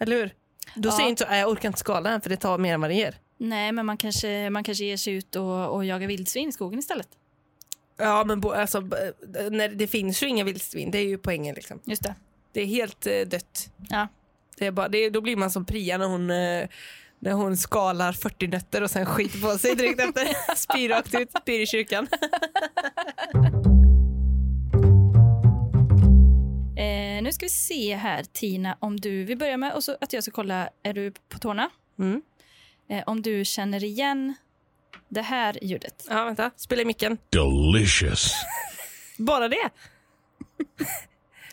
B: Eller hur? Då
A: Ja.
B: säger du inte så, "Nej, jag orkar inte skala den för det tar mer än vad det ger.
A: det. Nej, men man kanske, man kanske ger sig ut och, och jagar vildsvin i skogen istället.
B: Ja men bo, alltså, b- när det finns ju inga vildsvin, det är ju poängen. Liksom.
A: Just det.
B: Det är helt eh, dött.
A: Ja.
B: Det är bara, det, är- då blir man som Priya när hon, eh, när hon skalar 40 nötter och sen skiter på sig direkt efter. Spyr rakt ut, spyr i kyrkan.
A: Eh, nu ska vi se här, Tina, om du... Vi börjar med och så att jag ska kolla, är du på tårna?
B: Mm.
A: Eh, om du känner igen det här ljudet.
B: Ja vänta, spela i micken.
C: Delicious.
B: Bara det?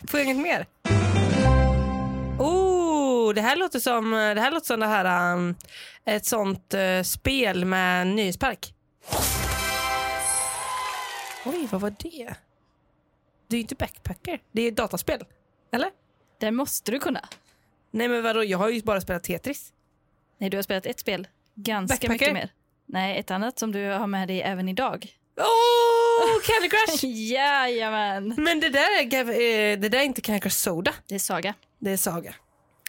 B: Får jag inget mer? Oh, det här låter som det här, låter som det här um, ett sånt eh, spel med nöjespark. Oj, vad var det? Det är ju inte backpacker, det är dataspel. Eller?
A: Det måste du kunna.
B: Nej men vadå, jag har ju bara spelat Tetris.
A: Nej, du har spelat ett spel ganska
B: Backpacker?
A: mycket mer. Nej, ett annat som du har med dig även idag.
B: Oh, Candy Crush!
A: Jajamän!
B: men det där, är, gav- eh, det där är inte Candy Crush Soda,
A: Det är Saga.
B: det är Saga.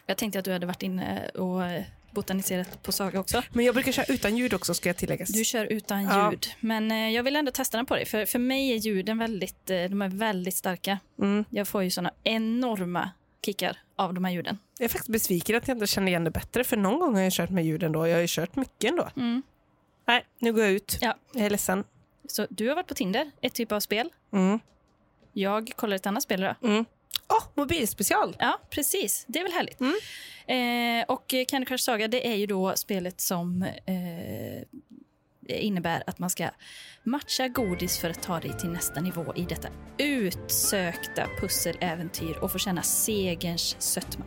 A: Jag tänkte att du hade varit inne och eh, botaniserat på Saga också.
B: Men jag brukar köra utan ljud också ska jag tilläggas.
A: Du kör utan
B: Ja.
A: ljud, men eh, jag vill ändå testa den på dig. För, för mig är ljuden väldigt, eh, de är väldigt starka.
B: Mm.
A: Jag får ju såna enorma kickar av de här ljuden.
B: Jag är faktiskt besviken att jag inte känner igen det bättre för någon gång har jag kört med ljud ändå. Jag har ju kört mycket ändå.
A: Mm.
B: Nej, nu går jag ut.
A: Ja.
B: Jag är ledsen.
A: Så du har varit på Tinder, ett typ av spel.
B: Mm.
A: Jag kollar ett annat spel idag.
B: Mm. Åh, mobilspecial!
A: Ja, precis. Det är väl härligt.
B: Mm.
A: Eh, och Candy Crush Saga det är ju då spelet som eh, innebär att man ska matcha godis för att ta dig till nästa nivå i detta utsökta pusseläventyr och få känna segerns sötma.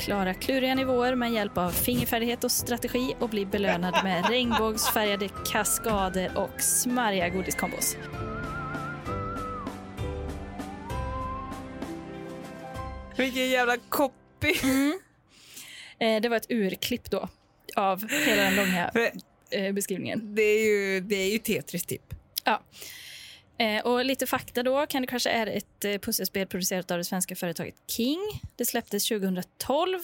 A: Klara kluriga nivåer med hjälp av fingerfärdighet och strategi och bli belönad med regnbågsfärgade kaskader och smarriga godiskombos.
B: Vilken jävla copy!
A: Eh, det var ett urklipp då av hela den långa
B: För
A: eh, beskrivningen.
B: Det är ju, det är ju Tetris typ.
A: Ja. Eh, och lite fakta då. Candy Crush är ett eh, pusselspel producerat av det svenska företaget King. Det släpptes 2012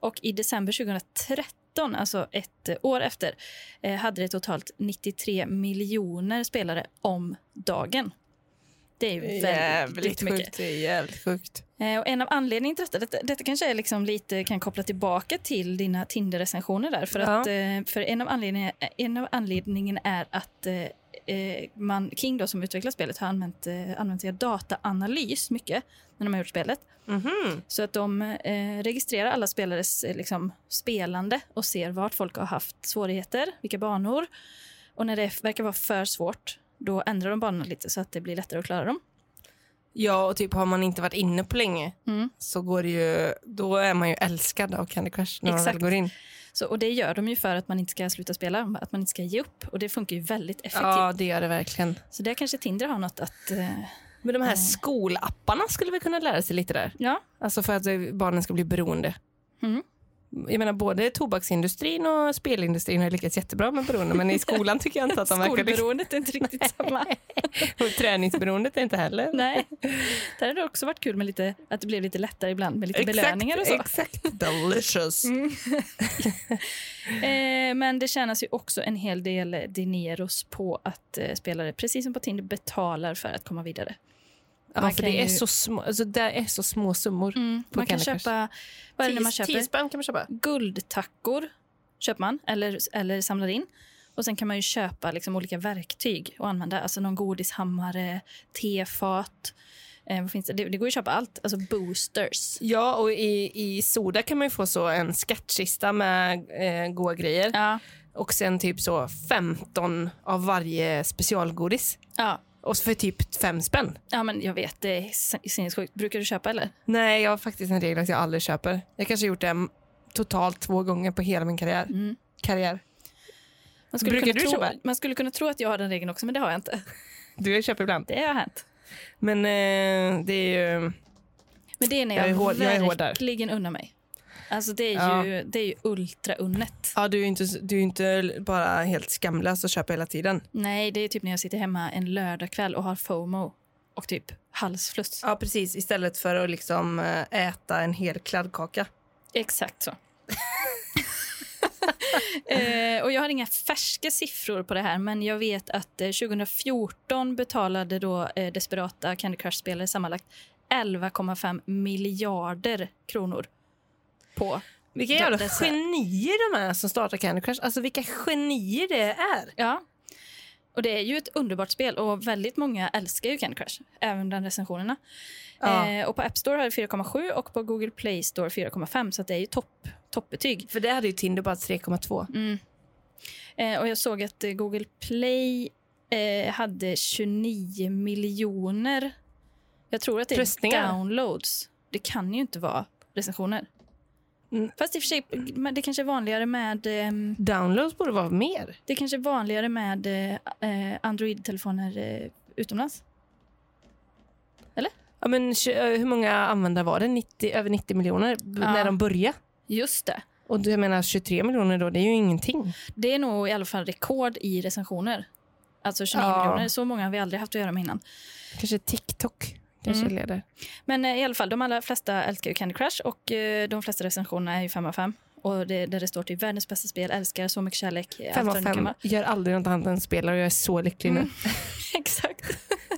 A: och i december 2013, alltså ett eh, år efter, eh, hade det totalt 93 miljoner spelare om dagen. Det är ju väldigt mycket.
B: sjukt. Det är jävligt sjukt.
A: Eh, Och en av anledningarna till detta, detta, detta kanske är liksom lite kan koppla tillbaka till dina Tinder-recensioner där, för,
B: Ja.
A: att, eh, för en av anledningarna en av anledningen är att eh, eh, man, King då, som utvecklar spelet har använt, eh, använt sig av dataanalys mycket när de har gjort spelet. Så att de eh, registrerar alla spelares eh, liksom, spelande och ser vart folk har haft svårigheter, vilka banor. Och när det verkar vara för svårt, då ändrar de banorna lite så att det blir lättare att klara dem.
B: Ja, och typ har man inte varit inne på länge
A: Mm.
B: så går det ju, då är man ju älskad av Candy Crush när man
A: Exakt.
B: väl går in.
A: Så, och det gör de ju för att man inte ska sluta spela, att man inte ska ge upp. Och det funkar ju väldigt effektivt.
B: Ja, det gör det verkligen.
A: Så där kanske Tinder har något att... eh,
B: Men de här skolapparna skulle vi kunna lära sig lite där.
A: ja,
B: Alltså för att eh, barnen ska bli beroende.
A: Mm.
B: Jag menar både tobaksindustrin och spelindustrin har lyckats jättebra med beroende men i skolan tycker jag inte att de verkar liksom- lyckas.
A: skolberoendet är inte riktigt samma.
B: Och träningsberoendet är inte heller.
A: Nej. Där har det också varit kul med lite, att det blev lite lättare ibland med lite belöningar och så.
B: Exakt. Delicious.
A: Mm. Eh, men det tjänas ju också en hel del dineros på att eh, spelare, precis som på Tinder, betalar för att komma vidare.
B: Ja,
A: Man
B: för
A: kan
B: det är,
A: ju- Mm,
B: så små, alltså det är så små summor. På
A: Man kan
B: Candy Crush.
A: köpa... Vad är det när man köper?
B: spänn kan man köpa.
A: guldtackor köper man eller, eller samlar in. Och Sen kan man ju köpa liksom olika verktyg och använda. Alltså någon godishammare, tefat. Eh, vad finns det? Det, det går ju att köpa allt. Alltså boosters.
B: Ja, och i, i Soda kan man ju få så en skattkista med eh, goda grejer.
A: Ja.
B: Och sen typ så 15 av varje specialgodis.
A: Ja.
B: Och för typ fem spänn.
A: ja, men jag vet. Det är sin- sinnessjukt. Brukar du köpa eller?
B: Nej, jag har faktiskt en regel att jag aldrig köper. Jag kanske har gjort det mm, totalt två gånger på hela min karriär.
A: Mm.
B: karriär.
A: Man skulle,
B: Brukar
A: kunna
B: du
A: tro,
B: köpa?
A: man skulle kunna tro att jag har den regeln också, men det har jag inte.
B: Du, jag köper ibland.
A: Det har hänt.
B: Men eh, det är ju...
A: Men det är när
B: Jag
A: jag,
B: är hård- jag är hård där.
A: verkligen unnar mig. Alltså det
B: Ja.
A: är ju, det är ju ultraunnet.
B: Ja, du är ju inte, du är ju inte bara helt skamlös och köper hela tiden.
A: Nej, det är typ när jag sitter hemma en lördagkväll och har FOMO och typ halsfluss.
B: Ja, precis. Istället för att liksom eh, äta en hel kladdkaka.
A: Exakt så. eh, och jag har inga färska siffror på det här, men jag vet att eh, 2014 betalade då eh, desperata Candy Crush-spelare sammanlagt 11,5 miljarder kronor på.
B: Vilka
A: Det-
B: jävla
A: det är så här-
B: genier de är som startar Candy Crush. Alltså vilka genier det är.
A: Ja. Och det är ju ett underbart spel och väldigt många älskar ju Candy Crush, även bland recensionerna.
B: Ja.
A: Eh, och på App Store har det 4,7 och på Google Play Store 4,5 så att det är ju topp, toppbetyg.
B: För det hade ju Tinder bara 3,2.
A: Mm. Eh, och jag såg att eh, Google Play eh, hade 29 miljoner. Jag tror att det är
B: Röstningar.
A: downloads. Det kan ju inte vara recensioner.
B: Mm.
A: Fast i och för sig, men det kanske är vanligare med, ehm,
B: Downloads borde vara mer.
A: det kanske är vanligare med eh, eh, Android-telefoner eh, utomlands.
B: Ja, men, tj- eh, hur många användare var det? 90, över 90 miljoner b-
A: Ja.
B: när de började.
A: Just det.
B: Och du- jag menar 23 miljoner då, det är ju ingenting.
A: Det är nog i alla fall rekord i recensioner. Alltså 29
B: Ja.
A: miljoner. Så många har vi aldrig haft att göra med innan.
B: Kanske TikTok kanske
A: Mm.
B: leder.
A: Men eh, i alla fall, de allra flesta älskar ju Candy Crush och eh, de flesta recensionerna är ju 5 av 5. Och det, där det står till världens bästa spel, älskar, så mycket kärlek. eh, allt
B: Fem av
A: vad det nu kan
B: fem.
A: vara.
B: Gör aldrig något annat än spelar och jag är så lycklig
A: Mm.
B: nu.
A: Exakt.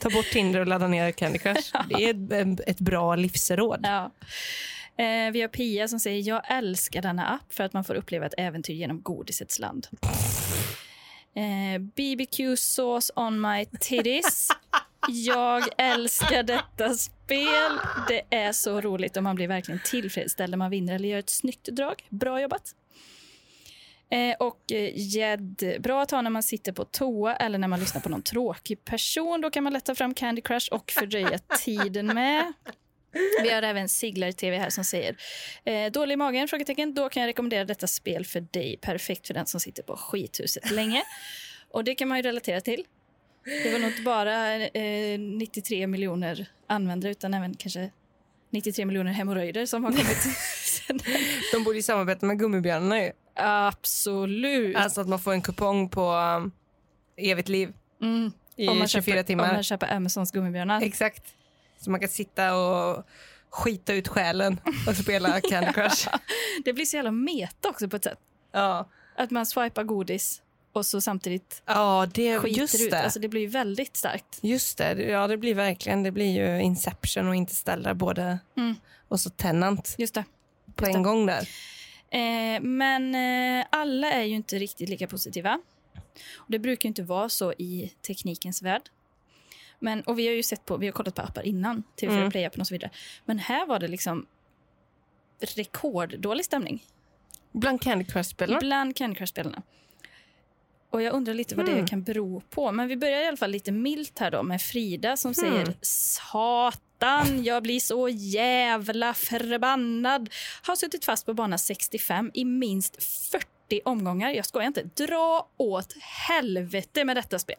B: Ta bort Tinder och ladda ner Candy Crush. Det är ett, ett bra livsråd.
A: Ja. Eh, vi har Pia som säger jag älskar denna app för att man får uppleva ett äventyr genom godisets land. Eh, BBQ sauce on my titties. Jag älskar detta spel. Det är så roligt och man blir verkligen tillfredsställd när man vinner eller gör ett snyggt drag. Bra jobbat. Eh, och eh, jättebra att ha när man sitter på toa eller när man lyssnar på någon tråkig person. Då kan man lätta fram Candy Crush och fördröja tiden med. Vi har även Siglar i TV här som säger eh, dålig i magen? Frågetecken. Då kan jag rekommendera detta spel för dig. Perfekt för den som sitter på skithuset länge. Och det kan man ju relatera till. Det var nog inte bara eh, 93 miljoner användare utan även kanske 93 miljoner hemorrojder som har kommit. sen.
B: De borde ju samarbeta med gummibjörnarna ju.
A: Absolut.
B: Alltså att man får en kupong på um, evigt liv
A: Mm.
B: i
A: Om man
B: 24
A: köper,
B: timmar.
A: Om man köper Amazons gummibjörnar.
B: Exakt. Så man kan sitta och skita ut själen och spela Candy Crush.
A: Det blir så jävla meta också på ett sätt.
B: ja.
A: Att man swipar godis och så samtidigt
B: ja, det,
A: skiter
B: just
A: ut.
B: det.
A: Alltså det blir ju väldigt starkt.
B: Just det, ja det blir verkligen, det blir ju Inception och Interstellar både
A: Mm.
B: och så Tenant
A: Just det.
B: på en gång där.
A: Eh, men eh, alla är ju inte riktigt lika positiva. Och det brukar ju inte vara så i teknikens värld. Men, och vi har ju sett på, vi har kollat på appar innan, TV4
B: Mm.
A: Play-appen och så vidare. Men här var det liksom rekorddålig stämning
B: Bland Candy Crush-spelarna.
A: bland Candy Crush-spelarna. Och jag undrar lite vad
B: Mm.
A: det kan bero på. Men vi börjar i alla fall lite milt här då med Frida som
B: Mm.
A: säger Satan, jag blir så jävla förbannad. Har suttit fast på bana 65 i minst 40 omgångar. Jag skojar inte. Dra åt helvete med detta spel.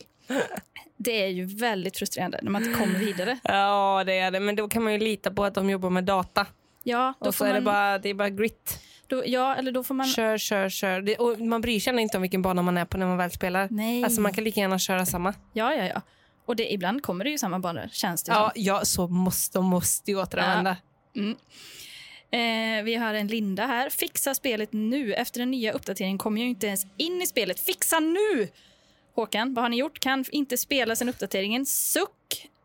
A: Det är ju väldigt frustrerande när man inte kommer vidare.
B: Ja, det är det, men då kan man ju lita på att de jobbar med data.
A: Ja, då
B: och
A: får
B: så är
A: man, Mm.
B: det, bara, det är bara grit.
A: då, ja, eller då får man...
B: Kör, kör, kör. Det, och man bryr sig inte om vilken bana man är på när man väl spelar.
A: Nej.
B: Alltså man kan lika gärna köra samma.
A: Ja, ja, ja. Och det, ibland kommer det ju samma banor, känns det som.
B: Ja, ja så måste, de måste ju återanvända.
A: Eh, vi har en Linda här. Fixa spelet nu. Efter den nya uppdateringen kommer jag ju inte ens in i spelet. Fixa nu! Håkan, vad har ni gjort? Kan inte spela sen uppdateringen. Suck!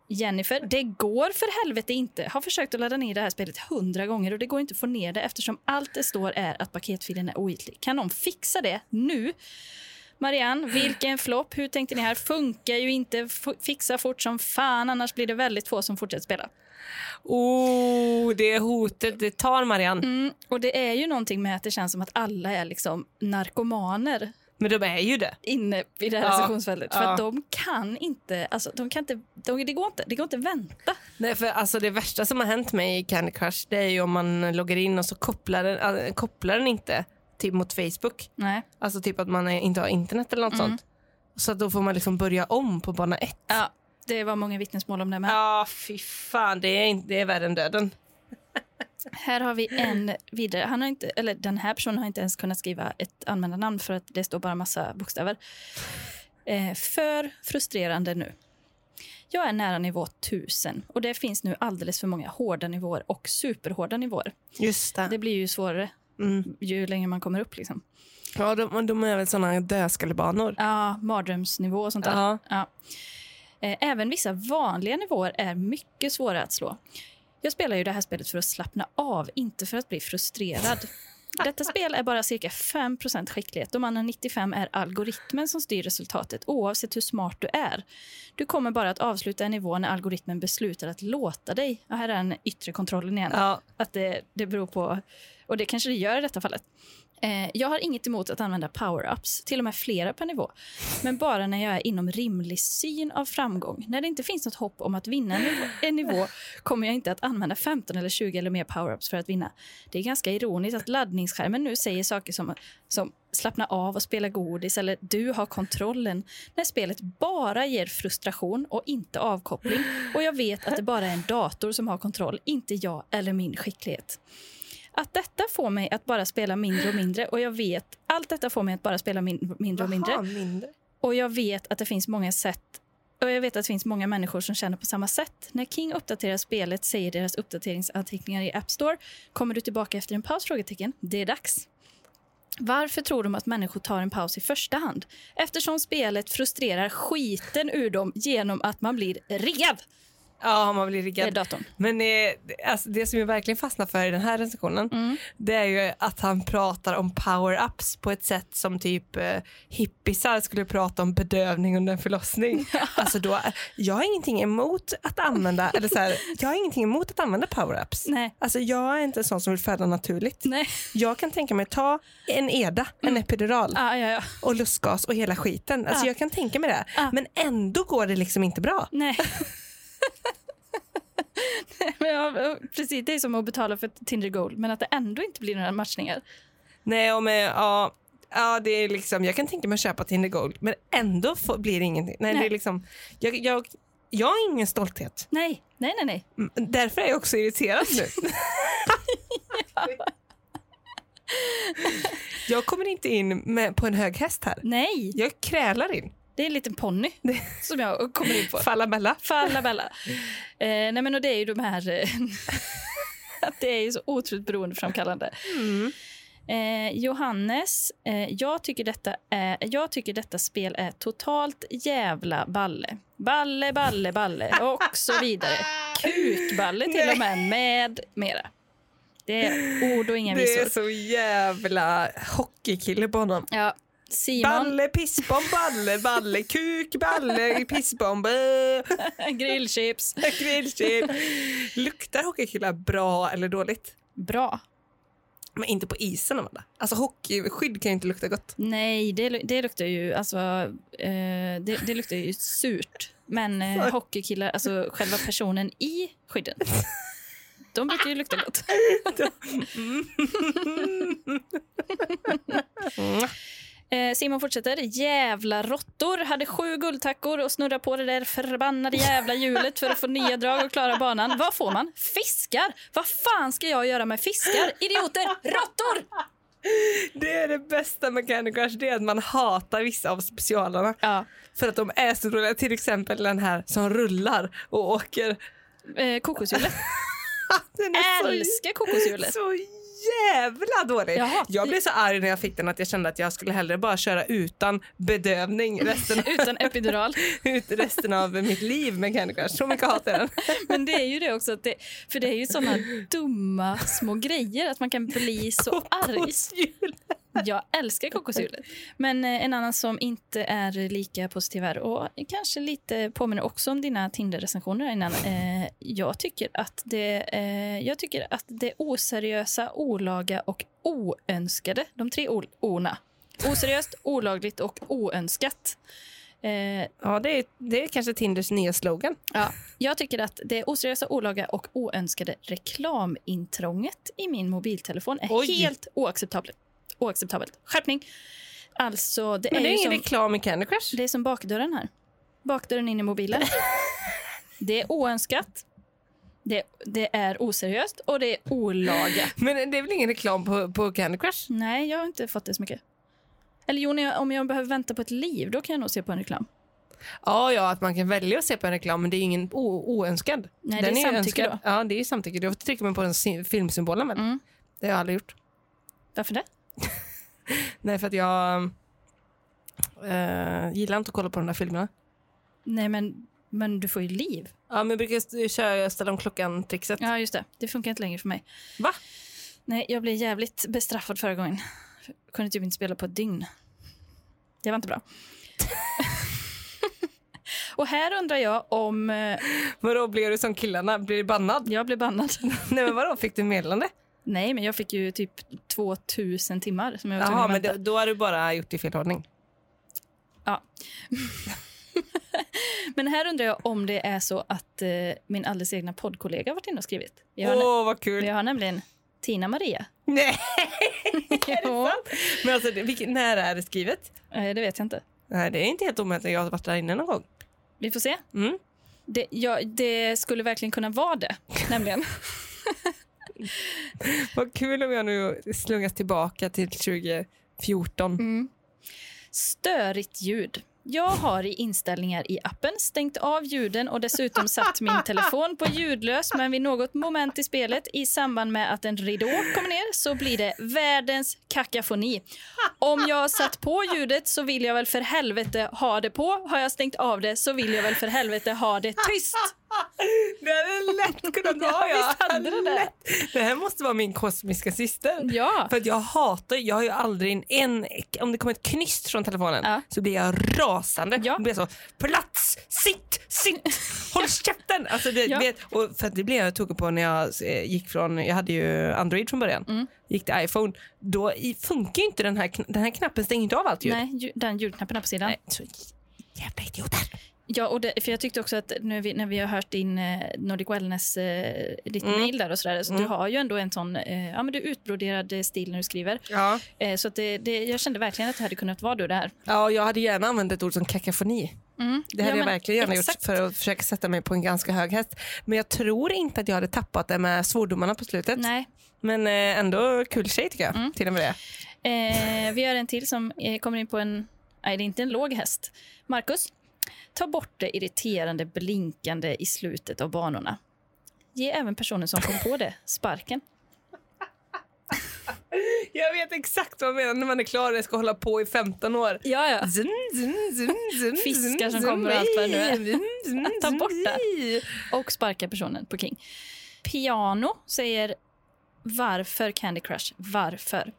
A: Jennifer, det går för helvete inte. Har försökt att ladda ner det här spelet hundra gånger och det går inte att få ner det eftersom allt det står är att paketfilen är ogiltig. Kan någon fixa det nu? Marianne, vilken flopp. Hur tänkte ni här? Funkar ju inte. F- fixa fort som fan, annars blir det väldigt få som fortsätter spela.
B: Oh, det är hotet. Det tar Marianne.
A: Mm, och det är ju någonting med att det känns som att alla är liksom narkomaner
B: Men de är ju det.
A: inne i det här
B: Ja,
A: recensionsfältet. För
B: ja.
A: att de kan inte, alltså de kan inte, de, det går inte, det går inte att vänta.
B: Nej, för alltså det värsta som har hänt mig i Candy Crush det är ju om man loggar in och så kopplar den, äh, kopplar den inte typ mot Facebook.
A: Nej.
B: Alltså typ att man är, inte har internet eller något
A: Mm.
B: sånt. Så att då får man liksom börja om på bana ett.
A: Ja, det var många vittnesmål om det med.
B: Ja, fy fan. Det är, inte, det är värre än döden.
A: Här har vi en vidare, han har inte, eller den här personen har inte ens kunnat skriva ett användarnamn för att det står bara massa bokstäver. Eh, för frustrerande nu. Jag är nära nivå 1000 och det finns nu alldeles för många hårda nivåer och superhårda nivåer.
B: Just
A: Det blir ju svårare
B: Mm.
A: ju längre man kommer upp. Liksom.
B: Ja, de, de är väl såna dödskallebanor.
A: Ja, mardrömsnivå och sånt där.
B: Ja.
A: Ja. Eh, Även vissa vanliga nivåer är mycket svåra att slå. Jag spelar ju det här spelet för att slappna av, inte för att bli frustrerad. Detta spel är bara cirka 5 skicklighet. De andra 95 är algoritmen som styr resultatet, oavsett hur smart du är. Du kommer bara att avsluta en nivå när algoritmen beslutar att låta dig... Ja, här är den yttre kontrollen igen
B: Ja.
A: att det, det beror på, och det kanske det gör i detta fallet. Eh, jag har inget emot att använda power-ups, till och med flera per nivå, men bara när jag är inom rimlig syn av framgång. När det inte finns något hopp om att vinna en nivå, en nivå kommer jag inte att använda 15 eller 20 eller mer power-ups för att vinna. Det är ganska ironiskt att laddningsskärmen nu säger saker som, som slappna av och spela godis eller du har kontrollen när spelet bara ger frustration och inte avkoppling och jag vet att det bara är en dator som har kontroll, inte jag eller min skicklighet. Att detta får mig att bara spela mindre och mindre och jag vet allt detta får mig att bara spela min, mindre och mindre
B: mindre.
A: och jag vet att det finns många sätt och jag vet att det finns många människor som känner på samma sätt. När King uppdaterar spelet säger deras uppdateringsanteckningar i App Store Kommer du tillbaka efter en paus? Frågetecken. Det är dags. Varför tror de att människor tar en paus i första hand? Eftersom spelet frustrerar skiten ur dem genom att man blir riggad.
B: Ja, man blir
A: Det är
B: riggad.
A: datorn.
B: Men eh, alltså, det som jag verkligen fastnar för i den här recensionen
A: Mm.
B: det är ju att han pratar om power-ups på ett sätt som typ eh, hippisar skulle prata om bedövning under en förlossning. Alltså då, jag har ingenting emot att använda, eller så här, jag har ingenting emot att använda power-ups.
A: Nej.
B: Alltså jag är inte en sån som vill föda naturligt.
A: Nej.
B: Jag kan tänka mig ta en EDA, en epidural
A: Ah, ja, ja.
B: och lustgas och hela skiten. Alltså
A: Ah.
B: jag kan tänka mig det.
A: Ah.
B: Men ändå går det liksom inte bra.
A: Nej. Nej, men ja, precis, det är som att betala för ett Tinder Gold, men att det ändå inte blir några matchningar.
B: Nej, och med, ja, ja, det är liksom, jag kan tänka mig att köpa Tinder Gold, men ändå får, blir det ingenting. Nej,
A: Nej.
B: Det är liksom, jag, jag, jag har ingen stolthet.
A: Nej, nej, nej. nej.
B: Mm, Därför är jag också irriterad nu. jag kommer inte in med, på en hög häst här.
A: Nej,
B: Jag krälar in.
A: det är en liten ponny som jag kommer in på.
B: Falla bella.
A: Falla Bella. Eh, nej men och det är ju de här... eh, att det är ju så otroligt beroendeframkallande. Eh, Johannes, eh, jag, tycker detta är, jag tycker detta spel är totalt jävla balle. Balle, balle, balle och så vidare. Kukballe till och med, med mera. Det är ord och inga
B: Det är
A: visor.
B: så jävla hockeykille på honom.
A: Ja, Simon,
B: Balle, pissbomb, balle, balle, kuk, balle, pissbomb. eh.
A: grillchips.
B: Grillchips. Luktar hockeykillar bra eller dåligt?
A: Bra.
B: Men inte på isen, Amanda. Alltså hockeyskydd kan ju inte lukta gott.
A: Nej, det, lu- det luktar ju alltså, eh, det, det luktar ju surt. Men eh, hockeykillar, alltså själva personen i skydden, de brukar ju lukta gott. Eh, Simon fortsätter. Jävla råttor. Hade sju guldtackor och snurra på det där förbannade jävla hjulet för att få nya drag och klara banan. Vad får man? Fiskar! Vad fan ska jag göra med fiskar? Idioter! Råttor!
B: Det är det bästa med Candy Crush, det är att man hatar vissa av specialerna.
A: Ja.
B: För att de är så roliga. Till exempel den här som rullar och åker.
A: Eh, kokoshjulet.
B: Den är så,
A: Älskar kokoshjulet.
B: så jävla dålig.
A: Jag hatar-
B: Jag blev så arg när jag fick den att jag kände att jag skulle hellre bara köra utan bedövning resten,
A: Utan epidural.
B: ut resten av mitt liv med Candy Crush. Så mycket hatar jag den.
A: Men det är ju det också, att det, för det är ju såna dumma små grejer att man kan bli så arg.
B: Kokosdjur.
A: Jag älskar kokoshjulet. Men eh, en annan som inte är lika positiv här och kanske lite påminner också om dina Tinder-recensioner innan. Eh, jag, tycker att det, eh, jag tycker att det oseriösa, olaga och oönskade, de tre o- orna. Oseriöst, olagligt och oönskat. Eh,
B: Ja, det är, det är kanske Tinders nya slogan.
A: Ja, jag tycker att det oseriösa, olaga och oönskade reklamintrånget i min mobiltelefon är
B: Oj.
A: helt oacceptabelt. oacceptabelt. Skärpning! Alltså, det, är,
B: Men det är
A: ju
B: ingen
A: som,
B: reklam i Candy Crush.
A: det är som bakdörren här. Bakdörren in i mobilen. det är oönskat. Det, det är oseriöst och det är olaga.
B: Men det är väl ingen reklam på, på Candy Crush?
A: Nej, jag har inte fått det så mycket. Eller jo, när jag, om jag behöver vänta på ett liv, då kan jag nog se på en reklam.
B: Ja, ja, att man kan välja att se på en reklam, men det är ju ingen o- oönskad.
A: Nej, det är
B: ju
A: samtycke
B: önskad. Ja, det är ju samtycke. Då trycker man på den sy- filmsymbolen väl?
A: Mm.
B: Det har jag aldrig gjort.
A: Varför det?
B: Nej, för att jag eh, gillar inte att kolla på de där filmerna.
A: Nej, men, men du får ju liv.
B: Ja, men jag brukar st- köra ställa om klockan-trixet.
A: Ja, just det. Det funkar inte längre för mig.
B: Va?
A: Nej, jag blev jävligt bestraffad förra gången. Kunde typ inte spela på ett dygn. Det var inte bra. Och här undrar jag om eh,
B: Vadå, blir du som killarna? Blir du bannad?
A: jag blev bannad.
B: Nej, men vadå, fick du meddelande?
A: Nej, men jag fick ju typ 2000 timmar som jag var tvungen
B: Jaha,
A: att
B: men
A: vänta.
B: då, då har du bara gjort det i fel ordning.
A: Men här undrar jag om det är så att eh, min alldeles egna poddkollega har varit inne och skrivit. Vi har,
B: Åh,
A: nä-
B: vad kul!
A: vi har nämligen Tina Maria.
B: Nej,
A: Jo,
B: men alltså, det- vilken, när är det skrivet?
A: eh, det vet jag inte.
B: Nej, det är inte helt omöjligt. Jag har varit där inne någon gång.
A: Vi får se.
B: Mm.
A: Det, ja, det skulle verkligen kunna vara det, nämligen.
B: Vad kul om jag nu slungas tillbaka till 2014.
A: Störigt ljud. Jag har i inställningar i appen stängt av ljuden och dessutom satt min telefon på ljudlös men vid något moment i spelet i samband med att en ridå kommer ner så blir det världens kakafoni. Om jag har satt på ljudet så vill
B: Ah,
A: jag väl för helvete ha det på. Har jag stängt av det så vill jag väl för helvete ha det tyst.
B: Det hade lätt kunnat
A: Ja,
B: vara jag.
A: visst hade du det.
B: Lätt. Det här måste vara min kosmiska syster.
A: Ja.
B: För att jag hatar, jag har ju aldrig en, en om det kommer ett knyst från telefonen
A: Ja.
B: så blir jag rasande.
A: Ja.
B: Jag blir så, plats, sitt, sitt, håll käften! Alltså det,
A: Ja.
B: vet, och för att det blev jag tokig på när jag eh, gick från, jag hade ju Android från början,
A: Mm.
B: gick till iPhone. Då i- funkar ju inte den här, kn- den här knappen stänger inte av allt ljud.
A: Nej, ju- den ljudknappen här på sidan.
B: Nej, Så jävla idioter.
A: Ja, och det, för jag tyckte också att nu vi, när vi har hört din eh, Nordic Wellness, eh, ditt mail där och sådär, så du har ju ändå en sån, eh, ja men du är utbroderad eh, stil när du skriver.
B: Ja.
A: Eh, så att det, det, jag kände verkligen att det hade kunnat vara du det här.
B: ja, jag hade gärna använt ett ord som kakafoni.
A: Mm.
B: Det hade
A: ja,
B: jag
A: men
B: verkligen gärna
A: exakt.
B: gjort för att försöka sätta mig på en ganska hög häst. Men jag tror inte att jag hade tappat det med svordomarna på slutet.
A: Nej. Mm.
B: Men eh, ändå kul tjej tycker jag. Till och med det.
A: Eh, vi har en till som eh, kommer in på en... Nej, det är inte en låg häst. Marcus, ta bort det irriterande blinkande i slutet av banorna. Ge även personen som kom på det sparken.
B: Jag vet exakt vad man menar när man är klar och ska hålla på i 15 år.
A: Ja, ja.
B: Zun, zun, zun, zun,
A: Fiskar som
B: zun,
A: kommer och allt vad det nu är.
B: zun, zun,
A: Ta
B: zun,
A: bort det.
B: zun.
A: Och sparka personen på King. Piano säger varför Candy Crush? Varför?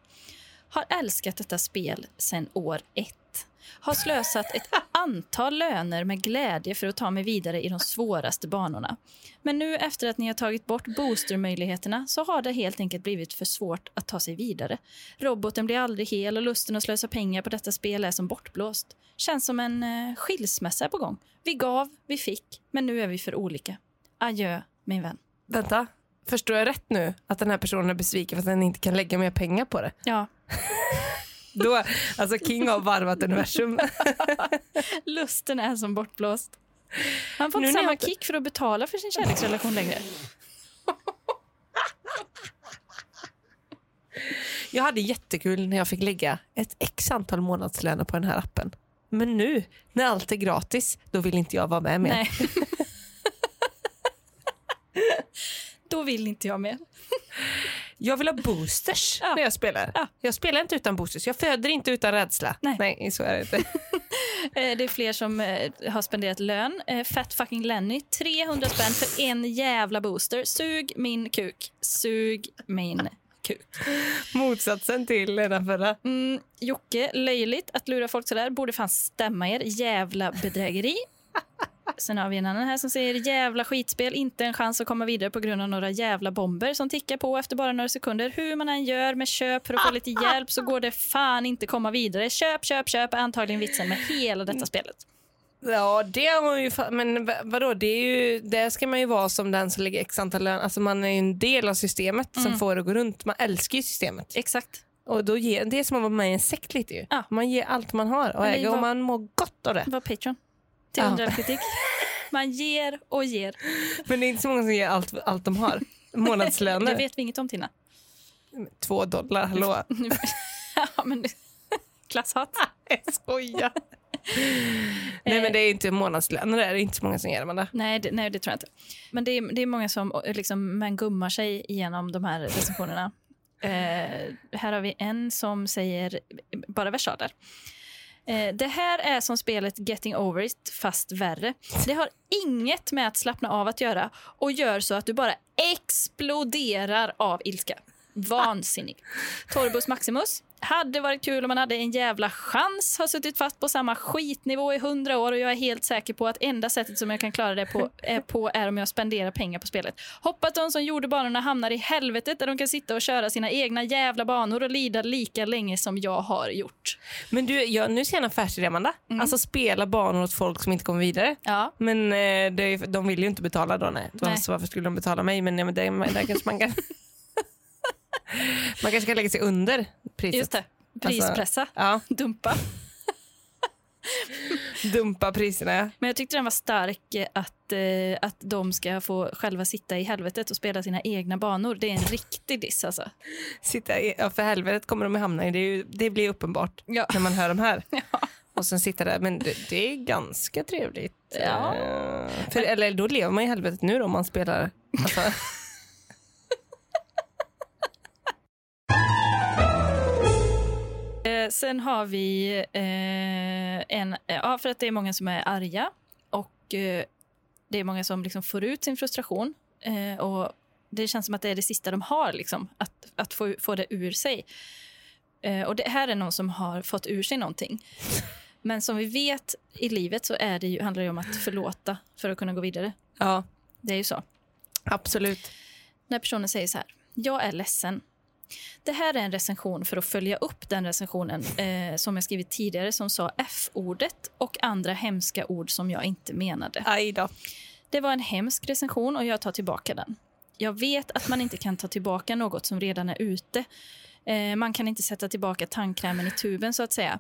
A: Har älskat detta spel sedan år ett. Har slösat ett antal löner med glädje för att ta mig vidare i de svåraste banorna. Men nu efter att ni har tagit bort boostermöjligheterna så har det helt enkelt blivit för svårt att ta sig vidare. Roboten blir aldrig hel och lusten att slösa pengar på detta spel är som bortblåst. Känns som en eh, skilsmässa är på gång. Vi gav, vi fick, men nu är vi för olika. Adjö, min vän.
B: Vänta, förstår jag rätt nu att den här personen är besviken för att den inte kan lägga mer pengar på det?
A: Ja,
B: Då, alltså King har varvat universum.
A: lusten är som bortblåst. Han får
B: Nu
A: inte
B: när jag
A: samma
B: inte-
A: kick för att betala för sin kärleksrelation längre.
B: Jag hade jättekul när jag fick lägga ett x antal månadslöner på den här appen. Men nu, när allt är gratis, då vill inte jag vara med mer.
A: Nej. Då vill inte jag mer.
B: Jag vill ha boosters
A: Ja.
B: när jag spelar.
A: Ja.
B: Jag spelar inte utan boosters. Jag föder inte utan rädsla.
A: Nej.
B: så är det inte.
A: Eh, Det är fler som eh, har spenderat lön. Eh, Fat fucking Lenny, 300 spänn för en jävla booster. Sug min kuk. Sug min kuk.
B: Motsatsen till den förra.
A: Mm, Jocke, löjligt att lura folk sådär. Borde fan stämma er. Jävla bedrägeri. Sen har vi en annan här som säger jävla skitspel, inte en chans att komma vidare på grund av några jävla bomber som tickar på efter bara några sekunder. Hur man än gör med köp för att få lite hjälp så går det fan inte komma vidare. Köp, köp, köp är antagligen vitsen med hela detta spelet.
B: Ja, det har man ju... fa- Men v- vadå, det är ju, där ska man ju vara som den som lägger x antal lön. Alltså man är ju en del av systemet
A: Mm.
B: som får det att gå runt. Man älskar ju systemet.
A: Exakt.
B: Och då ger, det är som att vara med i en sekt lite ju.
A: Ja.
B: Man ger allt man har och
A: Men det
B: äger
A: var-
B: och man mår gott av det.
A: var Patreon. Till
B: Ja.
A: undrar kritik. Man ger och ger.
B: Men det är inte så många som ger allt, allt de har.
A: Det
B: Månadslöner.
A: vet vi inget om Tina.
B: Två dollar, hallå.
A: ja, men, klasshat.
B: Jag skojar. Nej men det är inte månadslöner, det är inte så många som ger Amanda.
A: Nej det, nej, det tror jag inte. Men det är, det är många som eh, liksom, man gummar sig igenom de här recensionerna. Eh, här har vi en som säger eh, bara versaler. Eh, det här är som spelet Getting Over It, fast värre. Det har inget med att slappna av att göra och gör så att du bara exploderar av ilska. Vansinnig. Torbus Maximus. Hade varit kul om man hade en jävla chans. Har suttit fast på samma skitnivå i hundra år och jag är helt säker på att enda sättet som jag kan klara det på är, på är om jag spenderar pengar på spelet. Hoppas de som gjorde banorna hamnar i helvetet där de kan sitta och köra sina egna jävla banor och lida lika länge som jag har gjort.
B: Men du, jag, nu ser jag en affärsidé Amanda. Alltså spela banor åt folk som inte kommer vidare.
A: Ja,
B: Men eh, det, är- de vill ju inte betala då nej.
A: Nej.
B: Så varför skulle de betala mig? Men, nej, men det, där kanske man kan... man kanske kan lägga sig under priset.
A: just det. Prispressa.
B: Ja,
A: Dumpa.
B: dumpa priserna. ja.
A: Men jag tyckte den var stark eh, att, eh, att de ska få själva sitta i helvetet och spela sina egna banor. Det är en riktig diss alltså.
B: Sitta i, ja, för helvetet kommer de ju hamna i. Det, är ju, det blir uppenbart
A: Ja.
B: när man hör de här. Och sen sitta där. Men det, det är ganska trevligt.
A: Ja.
B: Eh, För, eller då lever man i helvetet nu då, om man spelar. Alltså,
A: Eh, sen har vi eh, en... eh, Ja, för att det är många som är arga. Och eh, det är många som liksom får ut sin frustration. Eh, och Det känns som att det är det sista de har, liksom, att, att få, få det ur sig. Eh, och Det här är någon som har fått ur sig någonting. Men som vi vet i livet så är det ju, handlar det ju om att förlåta för att kunna gå vidare.
B: Ja,
A: Det är ju så.
B: absolut.
A: När personen säger så här, jag är ledsen. Det här är en recension för att följa upp den recensionen eh, som jag skrivit tidigare som sa F-ordet och andra hemska ord som jag inte menade.
B: Aj då.
A: Det var en hemsk recension och jag tar tillbaka den. Jag vet att man inte kan ta tillbaka något som redan är ute. Eh, man kan inte sätta tillbaka tandkrämen i tuben så att säga.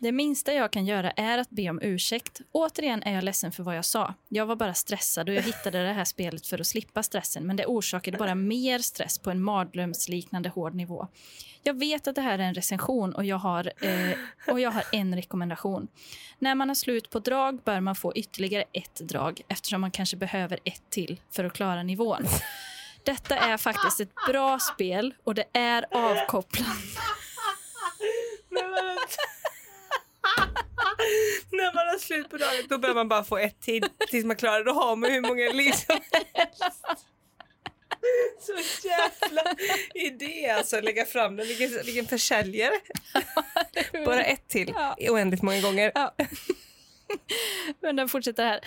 A: Det minsta jag kan göra är att be om ursäkt. Återigen är jag ledsen för vad jag sa. Jag var bara stressad och jag hittade det här spelet för att slippa stressen men det orsakade bara mer stress på en mardrömsliknande hård nivå. Jag vet att det här är en recension och jag har, eh, och jag har en rekommendation. När man har slut på drag bör man få ytterligare ett drag eftersom man kanske behöver ett till för att klara nivån. Detta är faktiskt ett bra spel och det är avkopplande.
B: När man, har... När man har slut på dagen då behöver man bara få ett till tills man klarar det. Då har man hur många liv som helst. Så jävla idé alltså att lägga fram den. Vilken, vilken försäljare. Bara ett till
A: Ja.
B: i oändligt många gånger.
A: Ja. Men den fortsätter här.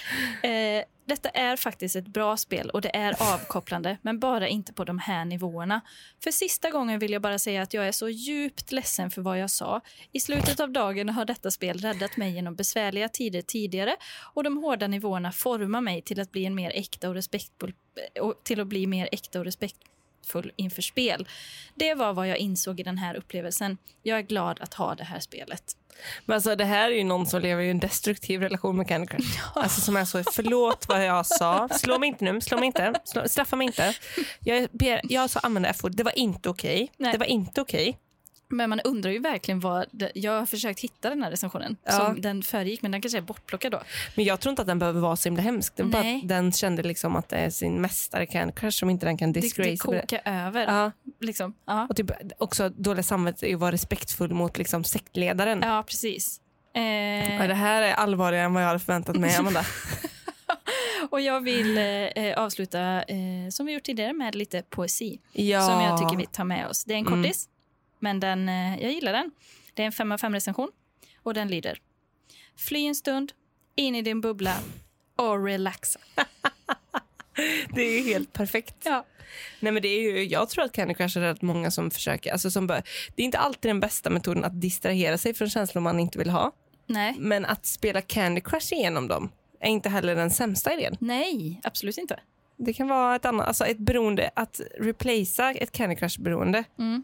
A: Eh, detta är faktiskt ett bra spel och det är avkopplande, men bara inte på de här nivåerna. För sista gången vill jag bara säga att jag är så djupt ledsen för vad jag sa. I slutet av dagen har detta spel räddat mig genom besvärliga tider tidigare och de hårda nivåerna formar mig till att bli en mer äkta och respektfull eh, och till att bli mer äkta och respektfull inför spel. Det var vad jag insåg i den här upplevelsen. Jag är glad att ha det här spelet.
B: Men alltså det här är ju någon som lever i en destruktiv relation med Candy Crush. Alltså som är så, förlåt vad jag sa, slå mig inte nu, slå mig inte, slå, straffa mig inte. Jag, ber, jag sa använda f det var inte okej.
A: Nej.
B: Det var inte okej.
A: Men man undrar ju verkligen vad... Det, jag har försökt hitta den här recensionen
B: Ja.
A: som den föregick, men den kanske är bortplockad då.
B: Men jag tror inte att den behöver vara så himla hemsk. Det var bara
A: Nej.
B: att den kände liksom att det är sin mästare Candy Crush som inte den kan
A: Det, det
B: disgrace. med det.
A: kokar över. Ja.
B: ja,
A: Liksom. Ja.
B: och typ också dåligt samvete är att vara respektfull mot liksom sektledaren. Ja.
A: ja, precis. Eh,
B: det här är allvarligare än vad jag hade förväntat mig, Amanda.
A: och jag vill eh, eh, avsluta, eh, som vi gjort tidigare, med lite poesi
B: ja.
A: som jag tycker vi tar med oss. Det är en
B: Mm.
A: kortis, men den, eh, jag gillar den. Det är en 5 av 5 recension och den lyder. Fly en stund, in i din bubbla och relaxa.
B: Det är ju helt perfekt.
A: Ja.
B: Nej, men det är ju, jag tror att Candy Crush är rätt många som försöker. Alltså som bör, det är inte alltid den bästa metoden att distrahera sig från känslor man inte vill ha.
A: Nej.
B: Men att spela Candy Crush igenom dem är inte heller den sämsta idén.
A: Nej, absolut inte.
B: Det kan vara ett annat, alltså ett beroende, att replacea ett Candy Crush-beroende
A: Mm.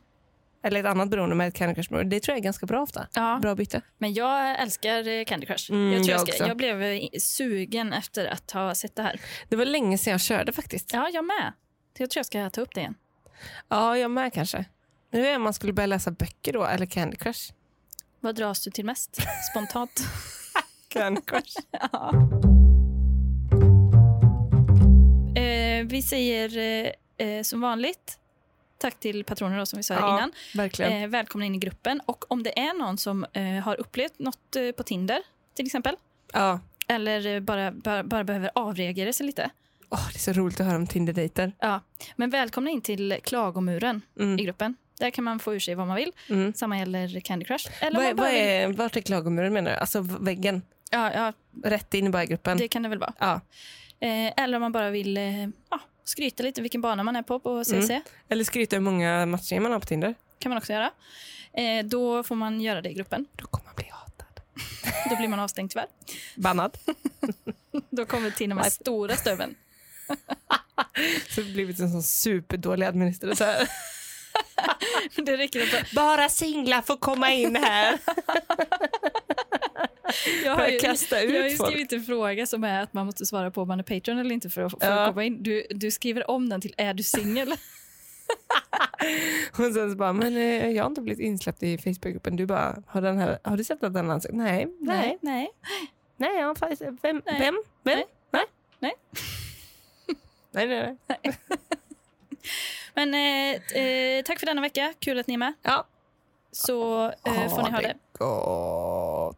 B: eller ett annat beroende med ett Candy Crush-beroende, det tror jag är ganska bra ofta.
A: Ja.
B: Bra byte.
A: Men jag älskar eh, Candy Crush.
B: Mm,
A: jag, tror jag,
B: jag
A: ska,
B: också.
A: jag blev eh, sugen efter att ha sett det här.
B: Det var länge sedan jag körde faktiskt.
A: Ja, jag med. Jag tror jag ska ta upp det igen.
B: Ja, jag med kanske. Nu är det om man skulle börja läsa böcker då, eller Candy Crush.
A: Vad dras du till mest spontant?
B: Candy Crush.
A: eh, vi säger eh, eh, som vanligt tack till patroner då, som vi sa
B: Ja,
A: innan.
B: Verkligen.
A: Eh, välkomna in i gruppen. Och om det är någon som eh, har upplevt något eh, på Tinder till exempel
B: Ja.
A: eller eh, bara, bara, bara behöver avreagera sig lite.
B: Åh, det är så roligt att höra om Tinder-dejter.
A: Ja. Men välkomna in till klagomuren
B: Mm.
A: i gruppen. Där kan man få ur sig vad man vill.
B: Mm.
A: Samma gäller Candy Crush. Eller
B: Vad
A: om
B: är,
A: man
B: vad
A: bara vill...
B: är, vart är klagomuren menar du? Alltså väggen?
A: ja, ja,
B: Rätt in i bara i gruppen?
A: det kan det väl vara.
B: Ja.
A: Eh, eller om man bara vill eh, ja, skryta lite vilken bana man är på på CC.
B: Eller skryta hur många matcher man har på Tinder?
A: kan man också göra. Eh, då får man göra det i gruppen.
B: Då kommer man bli hatad.
A: Då blir man avstängd tyvärr.
B: Bannad.
A: Då kommer till och med stora stöveln.
B: Så det har blivit en sån superdålig administratör.
A: Det räcker att
B: Bara singlar får komma in här.
A: jag har ju,
B: Börja kasta
A: jag har
B: ut
A: ju
B: folk.
A: skrivit en fråga som är att man måste svara på om man är Patreon eller inte för att, för
B: Ja.
A: att komma in. Du, du skriver om den till är du singel?
B: Och sen så bara, men eh, jag har inte blivit insläppt i Facebookgruppen. Du bara, har, den här, har du sett att den har ansökt? Nej, nej,
A: nej.
B: nej. jag har faktiskt- Vem?
A: Nej.
B: Vem? Vem?
A: Nej.
B: Nej.
A: Nej.
B: Nej, nej, nej.
A: Men eh, eh, tack för denna vecka. Kul att ni är med. eh,
B: Ja.
A: Så eh, får ni ha det.
B: gott.